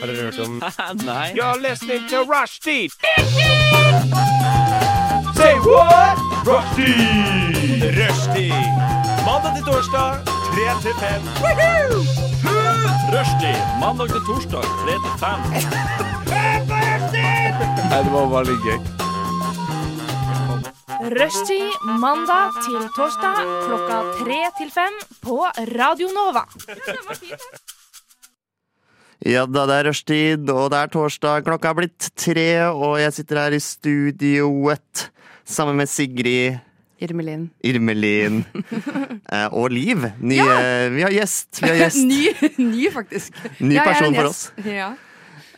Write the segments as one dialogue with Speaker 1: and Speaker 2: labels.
Speaker 1: Har dere hørt om
Speaker 2: Nei.
Speaker 3: You're listening to Rushdie. Say what? Rushdie. Rushdie. Mandag til torsdag, 3 til 5.
Speaker 2: Rushdie. Mandag til torsdag, 3 til 5.
Speaker 4: Rushtid mandag til torsdag klokka tre til fem på Radio Nova.
Speaker 5: Ja da, det er rushtid, og det er torsdag. Klokka er blitt tre, og jeg sitter her i studioet sammen med Sigrid
Speaker 6: Irmelin.
Speaker 5: Irmelin eh, og Liv. Nye, Vi har gjest. Vi har gjest.
Speaker 6: Ny, ny faktisk.
Speaker 5: Ny
Speaker 6: Ja, jeg er
Speaker 5: person
Speaker 6: en
Speaker 5: for
Speaker 6: gjest. Ja.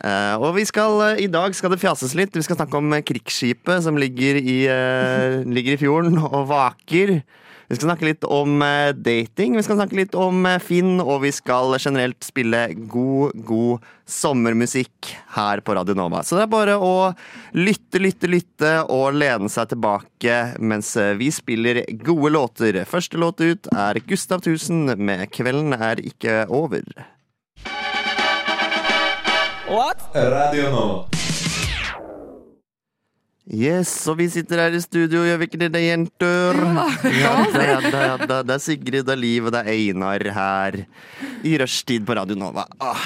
Speaker 5: Eh, og vi skal, eh, i dag skal det fjases litt. Vi skal snakke om eh, krigsskipet som ligger i, eh, ligger i fjorden og vaker. Vi skal snakke litt om eh, dating, vi skal snakke litt om eh, Finn, og vi skal generelt spille god, god sommermusikk her på Radio Nova. Så det er bare å lytte, lytte, lytte og lene seg tilbake mens eh, vi spiller gode låter. Første låt ut er Gustav Tusen med 'Kvelden er ikke over'.
Speaker 7: Radio Nova.
Speaker 5: Yes, og vi sitter her i studio, gjør vi ikke det, det er jenter? Ja, det, er, det, er, det, er, det er Sigrid, det er Liv, og det er Einar her i rushtid på Radio Nova. Åh,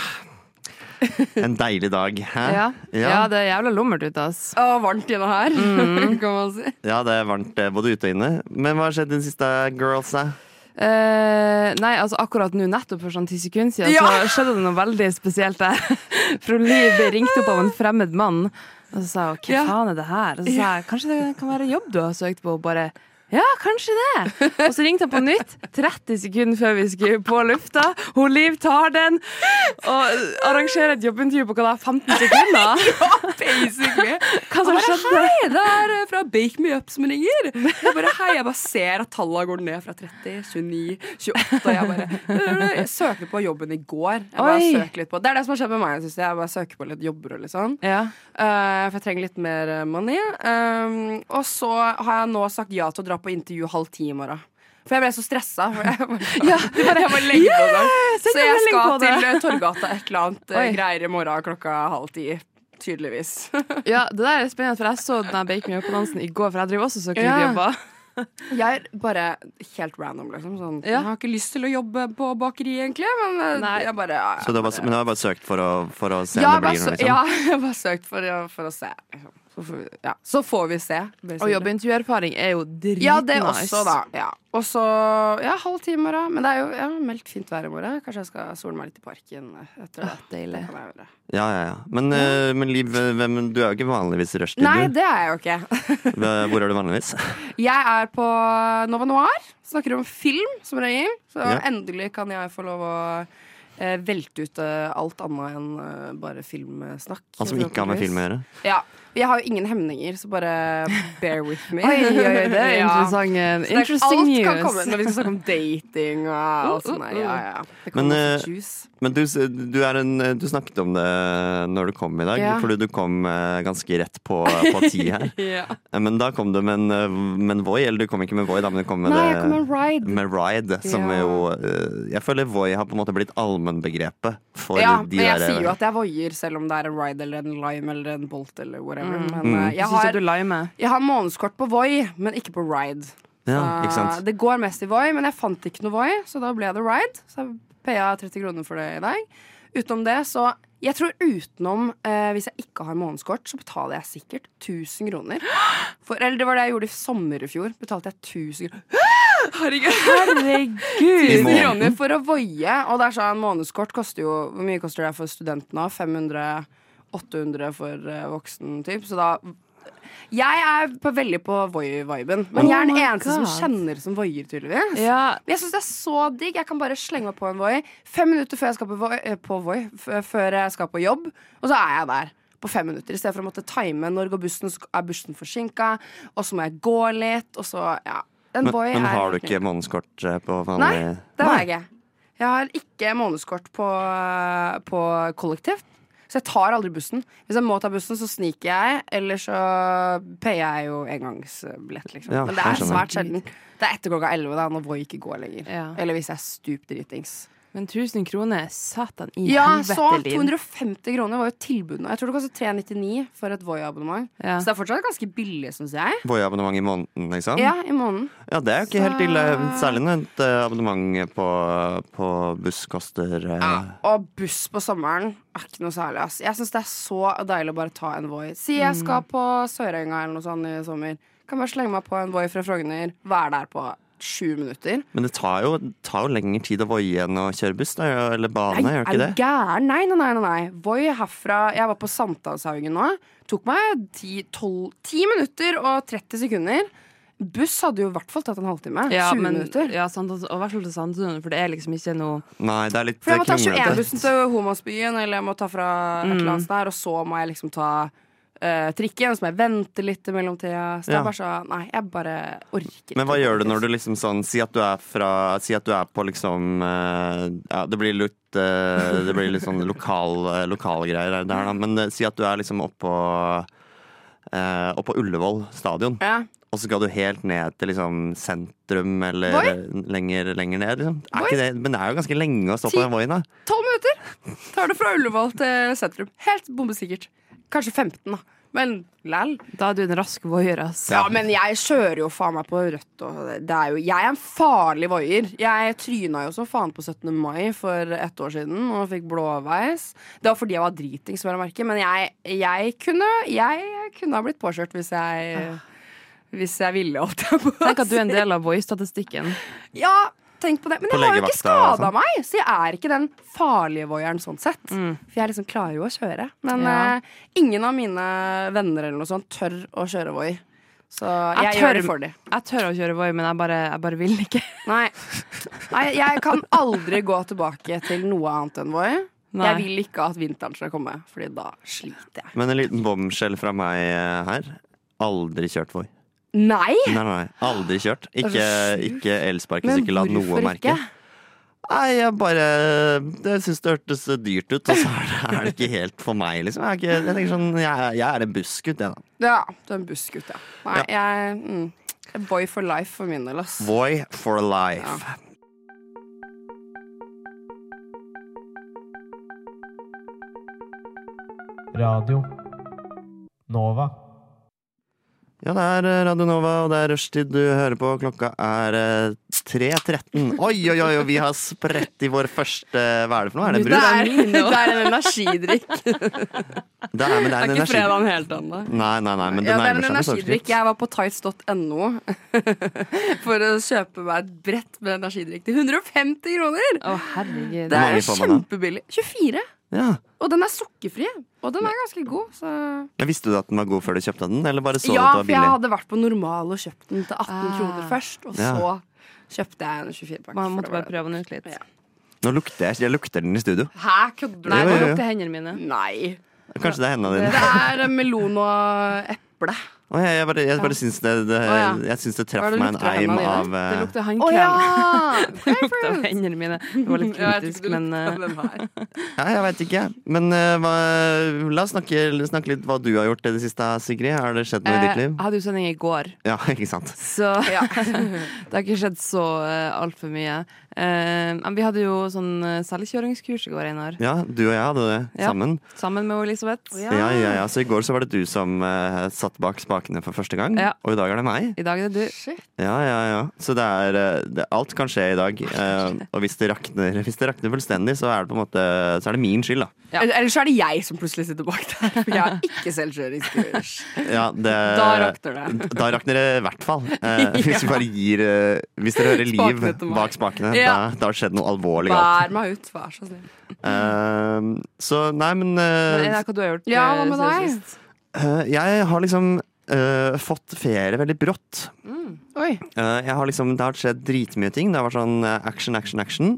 Speaker 5: en deilig dag, hæ?
Speaker 8: Ja.
Speaker 5: Ja.
Speaker 8: ja, det er jævla lummert ute, ass.
Speaker 6: Å, varmt inne her, kan man si.
Speaker 5: Ja, det er varmt eh, både ute og inne. Men hva har skjedd den siste, girls? eh?
Speaker 8: Eh, nei, altså akkurat nå, nettopp for sånn ti sekunder siden,
Speaker 6: Ja.
Speaker 8: så skjedde det noe veldig spesielt der. Fru Liv ble ringt opp av en fremmed mann, og så sa hun 'hva
Speaker 6: Ja.
Speaker 8: faen er det her?' Og så sa jeg 'kanskje det kan være jobb du har søkt på', og bare 'ja, kanskje det'. Og så ringte han på nytt, 30 sekunder før vi skulle på lufta. Hun Liv tar den og arrangerer et jobbintervju på hva da, 15 sekunder?
Speaker 6: Basically.
Speaker 8: Hva som skjedde?
Speaker 6: Hei, det er eh, fra Bake Me Up som ringer. Jeg bare, hei, jeg bare ser at tallene går ned fra 30, 29, 28. Og jeg bare øh, Jeg søkte på jobben i går. Jeg bare
Speaker 8: Oi.
Speaker 6: søker litt på Det er det som har skjedd med meg. Synes jeg. jeg bare søker på litt jobber og litt sånn.
Speaker 8: Ja.
Speaker 6: Eh, for jeg trenger litt mer eh, money. Um, og så har jeg nå sagt ja til å dra på intervju halv ti i morgen. For jeg ble så stressa. for Jeg bare, jeg bare legger på meg.
Speaker 8: send
Speaker 6: Så
Speaker 8: en
Speaker 6: jeg
Speaker 8: melding
Speaker 6: skal
Speaker 8: på det.
Speaker 6: til eh, Torgata et eller annet eh,
Speaker 8: Oi.
Speaker 6: greier i morgen klokka halv ti. Tydeligvis.
Speaker 8: Ja, det der er spennende, for jeg så den her Bake Me Up-dansen i går, for jeg driver også og søker
Speaker 6: Ja.
Speaker 8: ja. jobber.
Speaker 6: Jeg er bare helt random, liksom. Sånn.
Speaker 8: Ja.
Speaker 6: Jeg har ikke lyst til å jobbe på bakeri, egentlig, men eh,
Speaker 8: Nei.
Speaker 6: jeg bare ja,
Speaker 5: Så du har bare, men du har bare søkt for å, for å se
Speaker 6: ja,
Speaker 5: om det
Speaker 6: bare
Speaker 5: blir noe,
Speaker 6: sø-
Speaker 5: liksom?
Speaker 6: ja, jeg har bare søkt for, å- for å se. Liksom. Så, får vi, ja. så får vi se.
Speaker 8: Og
Speaker 6: basically.
Speaker 8: jobbintervjuerfaring er jo dritnice.
Speaker 6: Ja, det også, da. Ja. Og så ja, halv time i morgen. Men det er jo ja, meldt fint vær i morgen. Kanskje jeg skal sole meg litt i parken etter det.
Speaker 8: Ah, Deilig.
Speaker 6: Det kan jeg gjøre.
Speaker 5: Ja, ja, ja. Men, eh, men Liv, hvem, du er jo ikke vanligvis i rushtid,
Speaker 6: Nei,
Speaker 5: du.
Speaker 6: det er jeg jo ikke.
Speaker 5: Hva- Hvor er du vanligvis?
Speaker 6: Jeg er på Nova Noir. Snakker om film som regel. Så
Speaker 5: Ja.
Speaker 6: endelig kan jeg få lov å eh, velte ut eh, alt annet enn eh, bare filmsnakk.
Speaker 5: Han som Altså ikke har med film å gjøre.
Speaker 6: Ja. Jeg har jo ingen hemninger, så bare bear with me.
Speaker 8: Oi, oi, oi, det er
Speaker 6: Ja.
Speaker 8: interessant.
Speaker 6: Så det er-
Speaker 8: Interesting
Speaker 6: alt kan komme
Speaker 8: news.
Speaker 6: når vi skal snakke om dating og alt
Speaker 8: Uh, uh,
Speaker 6: sånt. der. Ja, ja. Det
Speaker 5: Men,
Speaker 6: kommer masse
Speaker 5: eh,
Speaker 6: juice.
Speaker 5: Men du, du, er en, du snakket om det når du kom i dag,
Speaker 6: Ja.
Speaker 5: fordi du kom eh, ganske rett på, på ti her. Men da kom du med en, eh, med en Voi, eller du kom ikke med Voi, da, men du kom med,
Speaker 6: Nei,
Speaker 5: det-
Speaker 6: jeg kom med ride.
Speaker 5: med Ride. Som
Speaker 6: Ja.
Speaker 5: er jo eh, Jeg føler Voi har på en måte blitt allmennbegrepet for
Speaker 6: Ja,
Speaker 5: de
Speaker 6: men jeg
Speaker 5: der eh,
Speaker 6: sier jo at jeg voier selv om det er en ride eller en lime eller en bolt eller whatever. Men
Speaker 5: Mm.
Speaker 6: eh,
Speaker 8: Jeg
Speaker 6: jeg,
Speaker 8: syns at
Speaker 6: har,
Speaker 8: du limer.
Speaker 6: jeg har månedskort på Voi, men ikke på ride.
Speaker 5: ja,
Speaker 6: Eh,
Speaker 5: ikke sant?
Speaker 6: Det går mest i Voi, men jeg fant ikke noe Voi, så da ble det ride. Så jeg paya 30 kroner for det i dag. Utenom det, så jeg tror utenom eh, Hvis jeg ikke har månedskort, så betaler jeg sikkert 1000 kroner. For, eller det var det jeg gjorde i sommer i fjor. Betalte jeg 1000 kroner. Herregud!
Speaker 5: I
Speaker 6: 1000
Speaker 5: måneden.
Speaker 6: kroner for å voie. Og der sa han månedskort koster jo Hvor mye koster det for studentene? 500? 800 for eh, voksen, typ. Så da Jeg er på, veldig på Voi-viben. Men jeg er den
Speaker 8: Oh my
Speaker 6: eneste som
Speaker 8: God.
Speaker 6: kjenner som voier, tydeligvis.
Speaker 8: Ja,
Speaker 6: Men Jeg syns det er så digg. Jeg kan bare slenge meg på en Voi. Fem minutter før jeg skal på Voi, eh, på voi f før jeg skal på jobb, og så er jeg der. På fem minutter, I stedet for å måtte time når går bussen sk- er bussen forsinka, og så må jeg gå litt, og så Ja. En
Speaker 5: Men,
Speaker 6: Voi
Speaker 5: men
Speaker 6: er
Speaker 5: har du
Speaker 6: helt
Speaker 5: ikke månedskort eh, på
Speaker 6: Nei,
Speaker 5: vanlig
Speaker 6: det har jeg ikke. Jeg har ikke månedskort på, på kollektivt. Så jeg tar aldri bussen. Hvis jeg må ta bussen, så sniker jeg. Eller så payer jeg jo engangsbillett, liksom.
Speaker 5: Ja,
Speaker 6: Men det
Speaker 5: jeg
Speaker 6: er
Speaker 5: skjønner.
Speaker 6: svært sjelden. Det er etter klokka elleve da, når Voi ikke går lenger.
Speaker 8: Ja.
Speaker 6: Eller hvis jeg er stup dritings.
Speaker 8: Men 1000 kroner, satan i
Speaker 6: Ja, så
Speaker 8: helvete, Linn.
Speaker 6: 250 kroner var jo tilbudet. nå. Jeg tror det koster 399 for et Voi-abonnement.
Speaker 8: Ja.
Speaker 6: Så det er fortsatt ganske billig, syns jeg.
Speaker 5: Voi-abonnement i måneden, liksom?
Speaker 6: Ja, i måneden.
Speaker 5: Ja, det er jo ikke helt ille. Særlig når et eh, abonnement på, på buss koster eh,
Speaker 6: Og buss på sommeren er ikke noe særlig, ass. Jeg syns det er så deilig å bare ta en Voi. Si jeg
Speaker 8: Mm.
Speaker 6: skal på Sørenga eller noe sånt i sommer. Kan bare slenge meg på en Voi fra Frogner. Være der på sju minutter.
Speaker 5: Men det tar jo, det tar jo lengre tid å voie enn å kjøre buss, da, eller bane,
Speaker 6: Nei,
Speaker 5: gjør det
Speaker 6: er
Speaker 5: ikke
Speaker 6: du
Speaker 5: det?
Speaker 6: gæren? Nei, nei, nei. nei, nei. Voi herfra Jeg var på Sankthanshaugen nå. Tok meg 10, 12, 10 minutter og 30 sekunder. Buss hadde jo i hvert fall tatt en halvtime.
Speaker 8: Ja,
Speaker 6: 20
Speaker 8: men,
Speaker 6: minutter.
Speaker 8: ja, sant, altså, og i hvert fall til Sandtun, for det er liksom ikke noe
Speaker 5: Nei, det er litt
Speaker 6: For jeg må ta
Speaker 5: kronglete.
Speaker 6: 21-bussen til Homansbyen, eller jeg må ta fra et eller
Speaker 5: Mm.
Speaker 6: annet sted der, og så må jeg liksom ta eh, trikken, så må jeg vente litt i mellomtida. Så det
Speaker 5: Ja.
Speaker 6: er bare så Nei, jeg bare orker ikke.
Speaker 5: Men hva gjør du når du liksom sånn Si at du er fra Si at du er på liksom eh, Ja, det blir litt eh, Det blir litt sånn lokal, eh, lokalgreier her, der, da. Men eh, si at du er liksom oppå eh, Oppå Ullevål stadion,
Speaker 6: ja.
Speaker 5: og så skal du helt ned til liksom sentrum eller lenger, lenger ned, liksom. Er
Speaker 6: Voi?
Speaker 5: ikke det, men det er jo ganske lenge å stå på
Speaker 6: Ti-
Speaker 5: den voien, da.
Speaker 6: Tolv minutter tar det fra Ullevål til sentrum. Helt bombesikkert. Kanskje 15, da. Men læl.
Speaker 8: Da er du en rask voier, ass.
Speaker 6: Ja, men jeg kjører jo faen meg på rødt. Og det er jo, jeg er en farlig voier. Jeg tryna jo som faen på 17. mai for ett år siden og fikk blåveis. Det var fordi jeg var driting, som jeg merke, men jeg, jeg, kunne, jeg kunne ha blitt påkjørt hvis jeg hvis jeg ville, holdt jeg på å
Speaker 8: Tenk at du
Speaker 6: si.
Speaker 8: er en del av voier-statistikken.
Speaker 6: Ja, tenk på det. Men
Speaker 5: På
Speaker 6: jeg har jo ikke
Speaker 5: legevakta og
Speaker 6: skada meg, så jeg er ikke den farlige voieren sånn sett. For jeg liksom klarer jo å kjøre. Men
Speaker 8: Ja.
Speaker 6: eh, ingen av mine venner eller noe sånt tør å kjøre voi. Så jeg,
Speaker 8: Jeg
Speaker 6: gjør
Speaker 8: tør-
Speaker 6: det for dem.
Speaker 8: Jeg tør å kjøre voi, men jeg bare, jeg bare vil ikke.
Speaker 6: Nei. Nei, jeg kan aldri gå tilbake til noe annet enn Voi.
Speaker 8: Nei.
Speaker 6: Jeg vil ikke at vinteren skal komme, Fordi da sliter jeg.
Speaker 5: Men en liten bombskjell fra meg eh, her. Aldri kjørt Voi.
Speaker 6: Nei!
Speaker 5: Nei, nei, nei, aldri kjørt.
Speaker 6: er så
Speaker 5: Ikke,
Speaker 6: sjukt.
Speaker 5: ikke elsparkesykkel av noe merke. Nei, jeg bare Jeg syns det hørtes dyrt ut, og så er det, er det ikke helt for meg, liksom. Jeg, er ikke, jeg tenker sånn Jeg, er- jeg er en bussgutt, jeg, da.
Speaker 6: Ja, du er en bussgutt, ja. Nei, jeg mm, Boy for life for min del, ass.
Speaker 5: Voi for life.
Speaker 1: Radio Nova.
Speaker 5: Ja, det er eh, Radio Nova, og det er rushtid du hører på. Klokka er eh, 3.13. Oi, oi, oi, og vi har spredt i vår første Hva er det for noe? Er det
Speaker 6: Det
Speaker 5: brus?
Speaker 6: er, det er en energidrikk.
Speaker 5: Det er, men det er en energi...
Speaker 6: helt ennå.
Speaker 5: Nei, nei, nei, men det
Speaker 6: ja, det er
Speaker 5: nærmer seg
Speaker 6: en
Speaker 5: med
Speaker 6: energidrikk.
Speaker 5: sorgskritt.
Speaker 6: Jeg var på tights.no for å kjøpe meg et brett med energidrikk til 150 kroner!
Speaker 8: Å, herregud.
Speaker 5: Hvor
Speaker 6: Det er
Speaker 5: mange
Speaker 6: jo
Speaker 5: får man
Speaker 6: kjempebillig. 24.
Speaker 5: Ja.
Speaker 6: Og den er sukkerfri, og den er ganske god. Så.
Speaker 5: Men Visste du at den var god før du kjøpte den, eller bare så du at
Speaker 6: Ja, for
Speaker 5: det
Speaker 6: jeg
Speaker 5: var billig?
Speaker 6: hadde vært på normal og kjøpt den til 18
Speaker 8: Ah.
Speaker 6: kroner først, og
Speaker 5: Ja.
Speaker 6: så kjøpte jeg en 24-pakke.
Speaker 8: Man
Speaker 6: for
Speaker 8: måtte bare
Speaker 6: det var det.
Speaker 8: prøve den ut litt.
Speaker 6: Ja.
Speaker 5: Nå lukter jeg, jeg lukter den i studio.
Speaker 6: Hæ, kødder du?
Speaker 8: Nei,
Speaker 5: Jo,
Speaker 8: nå
Speaker 5: jo, jo.
Speaker 8: lukter hendene mine.
Speaker 6: Nei.
Speaker 5: Kanskje det er hendene dine.
Speaker 6: Det er eh, melon og eple.
Speaker 5: Å, jeg, jeg bare, jeg bare syns det, det,
Speaker 6: ja.
Speaker 5: jeg syns det
Speaker 6: Hva er
Speaker 5: traff
Speaker 6: det
Speaker 5: meg en
Speaker 6: lukter av
Speaker 5: eim
Speaker 6: hendene
Speaker 5: av
Speaker 6: dine?
Speaker 5: eh,
Speaker 8: Det lukter
Speaker 6: Å
Speaker 8: håndkrem.
Speaker 6: ja!
Speaker 8: Det lukter av hendene mine. Det var litt
Speaker 6: Ja, jeg tror ikke
Speaker 8: kritisk,
Speaker 6: det
Speaker 8: men eh,
Speaker 6: lukter av den her.
Speaker 5: eh, ja, Jeg veit ikke, jeg. Men eh, hva, la oss snakke, snakke litt hva du har gjort i det siste, Sigrid. Har det skjedd noe
Speaker 8: eh,
Speaker 5: i ditt
Speaker 8: jeg
Speaker 5: liv?
Speaker 8: hadde jo sending i går,
Speaker 5: Ja, ikke sant?
Speaker 8: så
Speaker 6: Ja.
Speaker 8: det har ikke skjedd så eh, altfor mye. Eh, men vi hadde jo sånn eh, selvkjøringskurs i går, Einar.
Speaker 5: Ja, du og jeg hadde det
Speaker 8: Ja.
Speaker 5: sammen.
Speaker 8: Sammen med Elisabeth.
Speaker 5: Ja. ja, ja, Så i går så var det du som eh, satt bak spakene for første gang,
Speaker 8: Ja.
Speaker 5: og i dag er det meg.
Speaker 8: I dag er det du.
Speaker 5: Ja, ja, ja. Så det er eh, det, Alt kan skje i dag. eh, og hvis det, rakner, hvis det rakner fullstendig, så er det på en måte Så er det min skyld, da.
Speaker 8: Ja.
Speaker 6: Eller- Eller så er det jeg som plutselig sitter bak der. For jeg har ikke selvkjøringskurs.
Speaker 5: Ja, det,
Speaker 6: Da rakner det.
Speaker 5: Da rakner det i hvert fall. Eh, hvis vi bare gir eh, Hvis dere hører liv
Speaker 6: Spakene til meg.
Speaker 5: bak spakene,
Speaker 6: Ja.
Speaker 5: da, da har det skjedd noe alvorlig galt.
Speaker 6: Bær meg ut, vær så snill.
Speaker 5: Eh, så nei, men
Speaker 8: Men
Speaker 5: eh,
Speaker 8: Einar, hva du har gjort
Speaker 6: Ja,
Speaker 8: eh,
Speaker 6: hva med
Speaker 8: siden
Speaker 6: deg?
Speaker 8: sist?
Speaker 5: eh, Jeg har liksom eh, fått ferie veldig brått.
Speaker 8: Mm.
Speaker 6: Oi.
Speaker 5: Eh, jeg har liksom, det har skjedd dritmye ting. Det har vært sånn eh, action, action, action.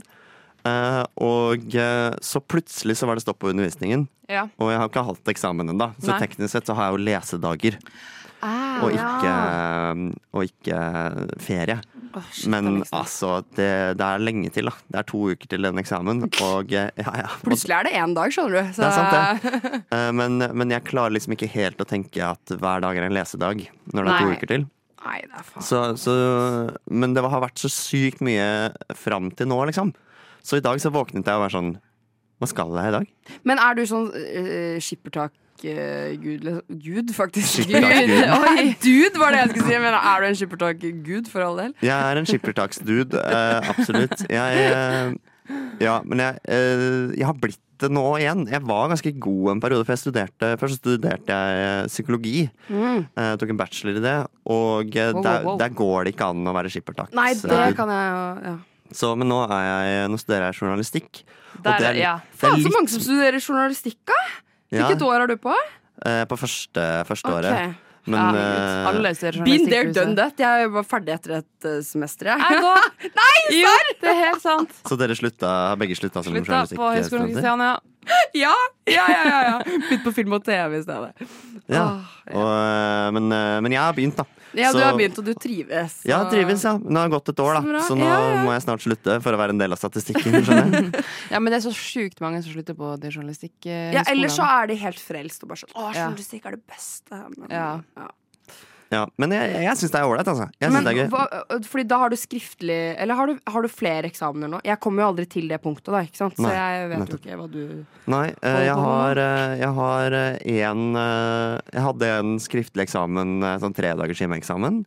Speaker 5: Eh, og eh, så plutselig så var det stopp på undervisningen.
Speaker 8: Ja.
Speaker 5: Og jeg har ikke hatt eksamen ennå, så
Speaker 8: Nei.
Speaker 5: teknisk sett så har jeg jo lesedager.
Speaker 8: Ah,
Speaker 5: og,
Speaker 8: ja.
Speaker 5: ikke, eh, og ikke eh, ferie. Men
Speaker 8: liksom-
Speaker 5: altså, det, det er lenge til, da. Det er to uker til den eksamen, og eh, ja, ja. Og-
Speaker 6: liksom- Plutselig er det én dag, skjønner du. Så
Speaker 5: Det er sant, det. Eh, Men, men jeg klarer liksom ikke helt å tenke at hver dag er en lesedag når det er to
Speaker 6: Nei.
Speaker 5: uker til.
Speaker 6: Nei, det er faen.
Speaker 5: Så, så, men det har vært så sykt mye fram til nå, liksom. Så i dag så våknet jeg og var sånn Hva skal jeg i dag?
Speaker 6: Men er du sånn uh, skippertak-gud? gud, faktisk.
Speaker 5: Skippertak-gud.
Speaker 6: Gud. Oi, dude var det jeg skulle si. Men er du en skippertak-gud, for all del?
Speaker 5: Jeg er en skippertaksdude, eh, absolutt. Jeg, eh, ja, men jeg, eh, jeg har blitt det nå igjen. Jeg var ganske god en periode, for jeg studerte, først studerte jeg eh, psykologi.
Speaker 6: Mm.
Speaker 5: Eh, Jeg tok en bachelor i det, og eh,
Speaker 8: Wow, wow,
Speaker 5: der,
Speaker 8: wow.
Speaker 5: der går det ikke an å være skippertaks.
Speaker 6: Nei, det
Speaker 5: Eh,
Speaker 6: kan jeg jo ja.
Speaker 5: Så, men nå, er jeg, nå studerer jeg journalistikk. og
Speaker 8: Der,
Speaker 5: det er-
Speaker 8: ja.
Speaker 5: det er
Speaker 6: Faen, så
Speaker 5: litt-
Speaker 6: mange som studerer journalistikk, da!
Speaker 5: ja,
Speaker 6: Hvilket år er du på?
Speaker 5: eh, På første, første året.
Speaker 6: Ok.
Speaker 5: Men
Speaker 8: Ja,
Speaker 5: eh,
Speaker 8: alle ser
Speaker 6: Been there,
Speaker 8: journalistikkhuset.
Speaker 6: done that. Jeg var ferdig etter et eh, semester, jeg.
Speaker 8: Jeg går. Nei, jo, det er helt sant.
Speaker 5: så dere slutta, har begge slutta som
Speaker 8: Slutta på Høgskolen
Speaker 5: journalistikkstudenter?
Speaker 6: liksom.
Speaker 8: Kristiania.
Speaker 6: Ja, ja, ja, ja, ja. Begynt på film og TV i stedet.
Speaker 5: Ja.
Speaker 6: Åh,
Speaker 5: Og, eh, men, eh, men jeg har begynt, da.
Speaker 6: Ja,
Speaker 5: Så-
Speaker 6: du har begynt, og du trives.
Speaker 5: Ja,
Speaker 6: og-
Speaker 5: trives, ja. Nå har det gått et år, da.
Speaker 6: Så bra.
Speaker 5: Så nå
Speaker 6: Ja, ja.
Speaker 5: må jeg snart slutte for å være en del av statistikken. skjønner jeg.
Speaker 8: Ja, men det er så sjukt mange som slutter på de journalistikkskolene.
Speaker 6: Ja, ellers så er de helt frelst og bare sånn Å,
Speaker 8: Ja.
Speaker 6: journalistikk er det beste. Men,
Speaker 8: Ja.
Speaker 5: Ja, men jeg, jeg syns det er ålreit, altså. Jeg synes
Speaker 6: Men,
Speaker 5: det er gøy.
Speaker 6: hva, fordi da har du skriftlig Eller har du, har du flere eksamener nå? Jeg kommer jo aldri til det punktet, da, ikke sant? Så
Speaker 5: Nei,
Speaker 6: jeg vet jo
Speaker 5: nettopp.
Speaker 6: ikke hva du
Speaker 5: Nei, eh, jeg har, eh, jeg har eh, en eh, Jeg hadde en skriftlig eksamen, eh, sånn tredagers hjemmeeksamen,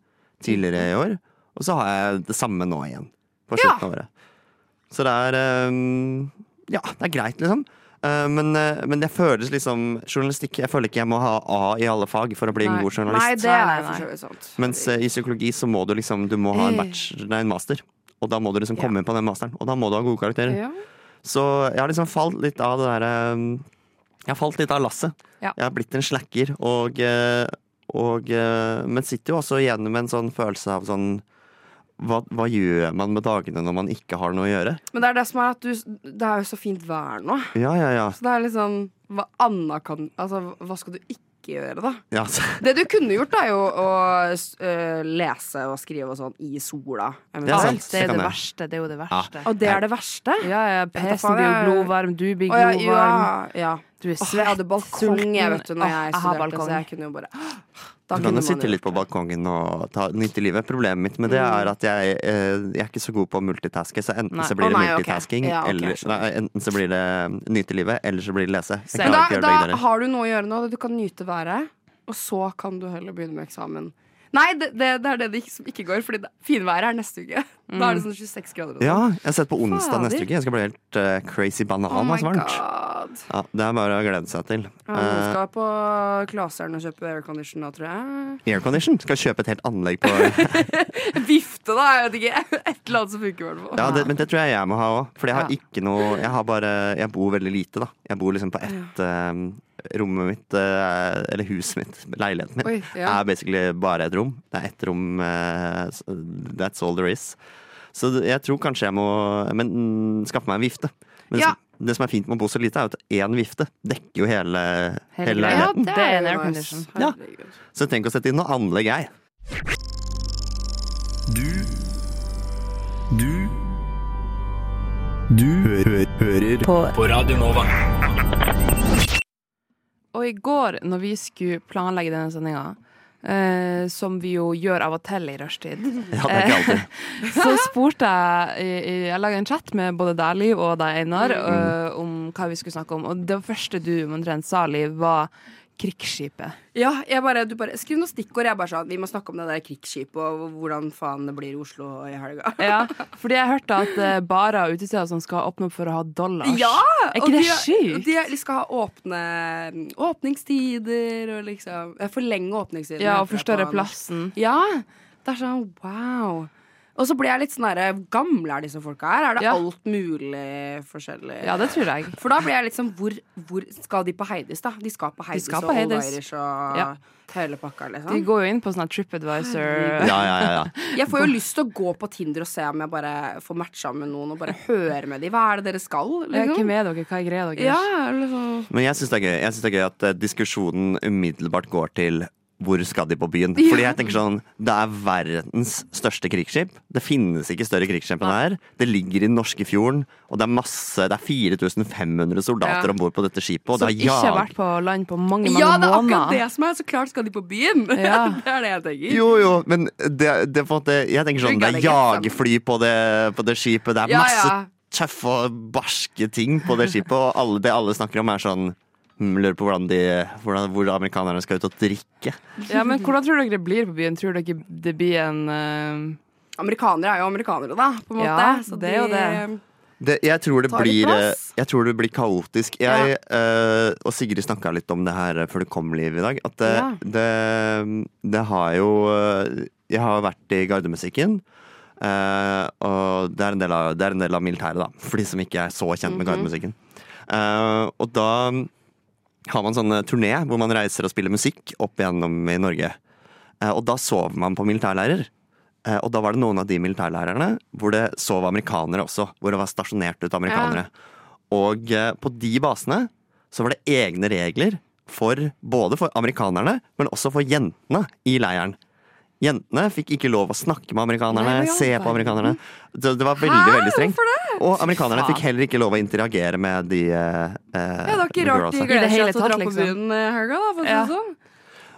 Speaker 5: tidligere i år. Og så har jeg det samme nå igjen, på
Speaker 6: Ja.
Speaker 5: slutten av året. Så det er eh, Ja, det er greit, liksom. Eh, Men, eh, men det føles liksom journalistikk Jeg føler ikke jeg må ha A i alle fag for å bli en
Speaker 8: Nei.
Speaker 5: god journalist.
Speaker 6: Nei, det
Speaker 8: Nei, nei,
Speaker 6: er for
Speaker 8: nei.
Speaker 6: så vidt sant.
Speaker 5: Mens eh, i psykologi så må du liksom Du må ha en, bachelor, nei, en master. Og da må du liksom komme inn på den masteren, og da må du ha gode karakterer.
Speaker 6: Ja.
Speaker 5: Så jeg har liksom falt litt av det derre um, Jeg har falt litt av lasset.
Speaker 6: Ja.
Speaker 5: Jeg har blitt en slacker, og, eh, og eh, Men sitter jo også igjen med en sånn følelse av sånn hva, hva gjør man med dagene når man ikke har noe å gjøre?
Speaker 6: Men det er det som er at du Det er jo så fint vær nå.
Speaker 5: Ja, ja, ja.
Speaker 6: Så det er litt sånn Hva anna kan Altså, hva skal du ikke gjøre, da?
Speaker 5: ja så,
Speaker 6: Det du kunne gjort, er jo å s- øh, lese og skrive og sånn i sola.
Speaker 5: Det er sant.
Speaker 8: Alt er
Speaker 5: det
Speaker 8: jo det
Speaker 5: kan jeg.
Speaker 8: verste. Det er jo det verste.
Speaker 6: Og det er det verste?
Speaker 8: Ja, ja, PC-en
Speaker 6: faen,
Speaker 8: blir jo
Speaker 6: jeg-
Speaker 8: glovarm, du blir
Speaker 6: Å ja,
Speaker 8: glovarm.
Speaker 6: ja, ja.
Speaker 8: Du er
Speaker 6: Åh, jeg hadde
Speaker 8: svett,
Speaker 6: balkong
Speaker 8: sulten.
Speaker 6: jeg, vet du, når
Speaker 8: Åh,
Speaker 6: jeg
Speaker 8: jeg har
Speaker 6: studerte,
Speaker 8: balkong.
Speaker 6: så jeg kunne jo bare da
Speaker 5: Du
Speaker 6: kunne
Speaker 5: kan jo
Speaker 6: man
Speaker 5: sitte
Speaker 6: jo-
Speaker 5: litt på balkongen og ta, nyte livet. Problemet mitt med det er at jeg, eh, jeg er ikke så god på å multitaske. Så enten
Speaker 8: Nei.
Speaker 5: så blir
Speaker 6: Å,
Speaker 5: det
Speaker 6: Mm. nei, ok.
Speaker 5: multitasking,
Speaker 6: Ja, ok,
Speaker 5: eller,
Speaker 6: skjønner.
Speaker 5: nei, enten så blir det mm, nyte livet, eller så blir det lese. Jeg
Speaker 8: Men
Speaker 5: klarer
Speaker 6: Men da,
Speaker 5: ikke å gjøre begge
Speaker 6: da
Speaker 5: deler.
Speaker 6: har du noe å gjøre nå. Du kan nyte været, og så kan du heller begynne med eksamen. Nei, det, det, det er det det ikke- som ikke går, Fordi det- finværet er neste uke. Da er det sånn 26 grader.
Speaker 5: Mm.
Speaker 6: og sånn.
Speaker 5: Ja, jeg har sett på onsdag neste
Speaker 6: Fader.
Speaker 5: uke. Jeg skal bli helt eh, crazy banan.
Speaker 6: Oh my
Speaker 5: så varmt. Eh.
Speaker 6: god.
Speaker 5: Ja, det er bare å glede seg til.
Speaker 6: Ja, Noen skal på Klaseren og kjøpe aircondition nå, tror jeg.
Speaker 5: Eh, Aircondition. Skal kjøpe et helt anlegg på
Speaker 6: Vifte, da! Jeg vet ikke. Et eller annet som funker, i hvert fall.
Speaker 5: Ja, det, men det tror jeg jeg må ha òg. For jeg har
Speaker 8: Ja.
Speaker 5: ikke noe Jeg har bare Jeg bor veldig lite, da. Jeg bor liksom på ett eh, Rommet mitt, eh, eller huset mitt, leiligheten min,
Speaker 6: Oi, ja.
Speaker 5: er basically bare et rom. Det er ett rom eh, s- That's all there is. Så det- jeg tror kanskje jeg må Men mm, skaffe meg en vifte. Men
Speaker 6: Ja.
Speaker 5: det som er fint med å bo så lite, er jo at én vifte dekker jo hele,
Speaker 8: Hele
Speaker 5: hele
Speaker 8: greia.
Speaker 6: Ja,
Speaker 5: leiligheten.
Speaker 8: Det er en
Speaker 6: jo
Speaker 8: aircondition.
Speaker 6: nice.
Speaker 5: Ja.
Speaker 6: Herregud.
Speaker 5: Så tenk å sette inn noe anlegg, jeg.
Speaker 8: Og i går, når vi skulle planlegge denne sendinga, eh, som vi jo gjør av og til i rushtid,
Speaker 5: Ja, det er ikke alltid.
Speaker 8: så spurte jeg i- i- Jeg laga en chat med både deg, Liv, og deg, Einar,
Speaker 6: Mm.
Speaker 8: eh, om hva vi skulle snakke om. Og det første du omtrent sa, Liv, var krigsskipet.
Speaker 6: Ja, jeg bare, du bare Skriv noen stikkord. Jeg bare sa vi må snakke om det der krigsskipet og hvordan faen det blir i Oslo i helga.
Speaker 8: Ja, fordi jeg hørte at eh, barer og utesteder som skal åpne opp for å ha dollars.
Speaker 6: Ja!
Speaker 8: Er
Speaker 6: og
Speaker 8: ikke det
Speaker 6: de-
Speaker 8: sjukt?
Speaker 6: De, de skal ha åpne mm, åpningstider og liksom eh, Forlenge åpningstidene.
Speaker 8: Ja, og
Speaker 6: heter det på
Speaker 8: forstørre
Speaker 6: norsk.
Speaker 8: plassen.
Speaker 6: Ja. Det er sånn wow. Og så blir jeg litt sånn herre Gamle er disse folka her? Er det
Speaker 8: Ja.
Speaker 6: alt mulig forskjellig?
Speaker 8: Ja, det tror jeg.
Speaker 6: For da blir jeg litt sånn hvor, hvor skal de på Heidis, da? De skal på Heidis
Speaker 8: skal på
Speaker 6: og Old
Speaker 8: Heidis.
Speaker 6: Irish og
Speaker 8: Ja.
Speaker 6: hele pakka,
Speaker 8: De
Speaker 6: liksom.
Speaker 8: går jo inn på sånn TripAdvisor.
Speaker 5: Ja, ja, ja, ja.
Speaker 6: Jeg får jo lyst til å gå på Tinder og se om jeg bare får matcha med noen og bare høre med de. Hva er det dere skal?
Speaker 8: Ja,
Speaker 6: Liksom?
Speaker 8: Hvem er dere? Hva er greia deres?
Speaker 6: Ja, eller sånn.
Speaker 5: Men jeg syns det er gøy Jeg synes det er gøy at eh, diskusjonen umiddelbart går til hvor skal de på byen? Fordi jeg tenker sånn, Det er verdens største krigsskip. Det finnes ikke større krigsskip enn det her. Det ligger i den norske fjorden, og det er masse Det er 4500 soldater
Speaker 6: Ja.
Speaker 5: om bord på dette skipet. Og
Speaker 8: Som
Speaker 5: det
Speaker 8: ikke
Speaker 5: har
Speaker 8: har
Speaker 5: jag-
Speaker 8: vært på land på mange, mange
Speaker 6: ja, det er akkurat det
Speaker 8: måneder.
Speaker 6: som er. Så klart skal de på byen.
Speaker 8: Ja.
Speaker 6: det er det jeg tenker.
Speaker 5: Jo, jo, men det, det, er på en måte, jeg tenker sånn,
Speaker 6: Funker
Speaker 5: det er
Speaker 6: det ikke?
Speaker 5: jagerfly på det, på det skipet. Det er
Speaker 6: Ja,
Speaker 5: masse
Speaker 6: ja.
Speaker 5: tøffe og barske ting på det skipet, og alle, det alle snakker om, er sånn hmm, Lurer på hvordan de, hvordan, hvor amerikanerne skal ut og drikke.
Speaker 8: Ja, men hvordan tror dere det blir på byen? Tror dere det blir en eh,
Speaker 6: Amerikanere er jo amerikanere, da, på en måte.
Speaker 8: Ja,
Speaker 6: så
Speaker 8: det er jo det.
Speaker 5: Det, jeg, tror det
Speaker 6: Ta litt
Speaker 5: blir, eh,
Speaker 6: plass.
Speaker 5: jeg tror det blir kaotisk. Jeg, eh, og Sigrid snakka litt om det her eh, før det kom liv i dag. At det,
Speaker 6: Ja.
Speaker 5: det, det har jo eh, Jeg har vært i gardemusikken. eh, og det er, en del av, det er en del av militæret, da, for de som ikke er så kjent
Speaker 6: Mhm.
Speaker 5: med gardemusikken. Eh, og da har man sånn turné hvor man reiser og spiller musikk opp igjennom i Norge. Eh, og da sover man på militærlærer. Eh, Og da var det noen av de militærlærerne hvor det sov amerikanere også. Hvor det var stasjonert ut amerikanere. Og eh, på de basene så var det egne regler for både for amerikanerne, men også for jentene i leiren. Jentene fikk ikke lov å snakke med amerikanerne,
Speaker 8: Nei, hva i all
Speaker 5: se på amerikanerne. Det, det var veldig, veldig strengt. Og amerikanerne fikk heller ikke lov å interagere med de eh,
Speaker 6: Ja, det var ikke
Speaker 5: the
Speaker 6: rart
Speaker 5: girlsa.
Speaker 6: de
Speaker 8: I det
Speaker 6: gleder
Speaker 8: hele
Speaker 6: seg til å
Speaker 8: tatt,
Speaker 6: dra på
Speaker 8: liksom.
Speaker 6: byen eh, helga, da, for å si
Speaker 8: Ja.
Speaker 6: det sånn.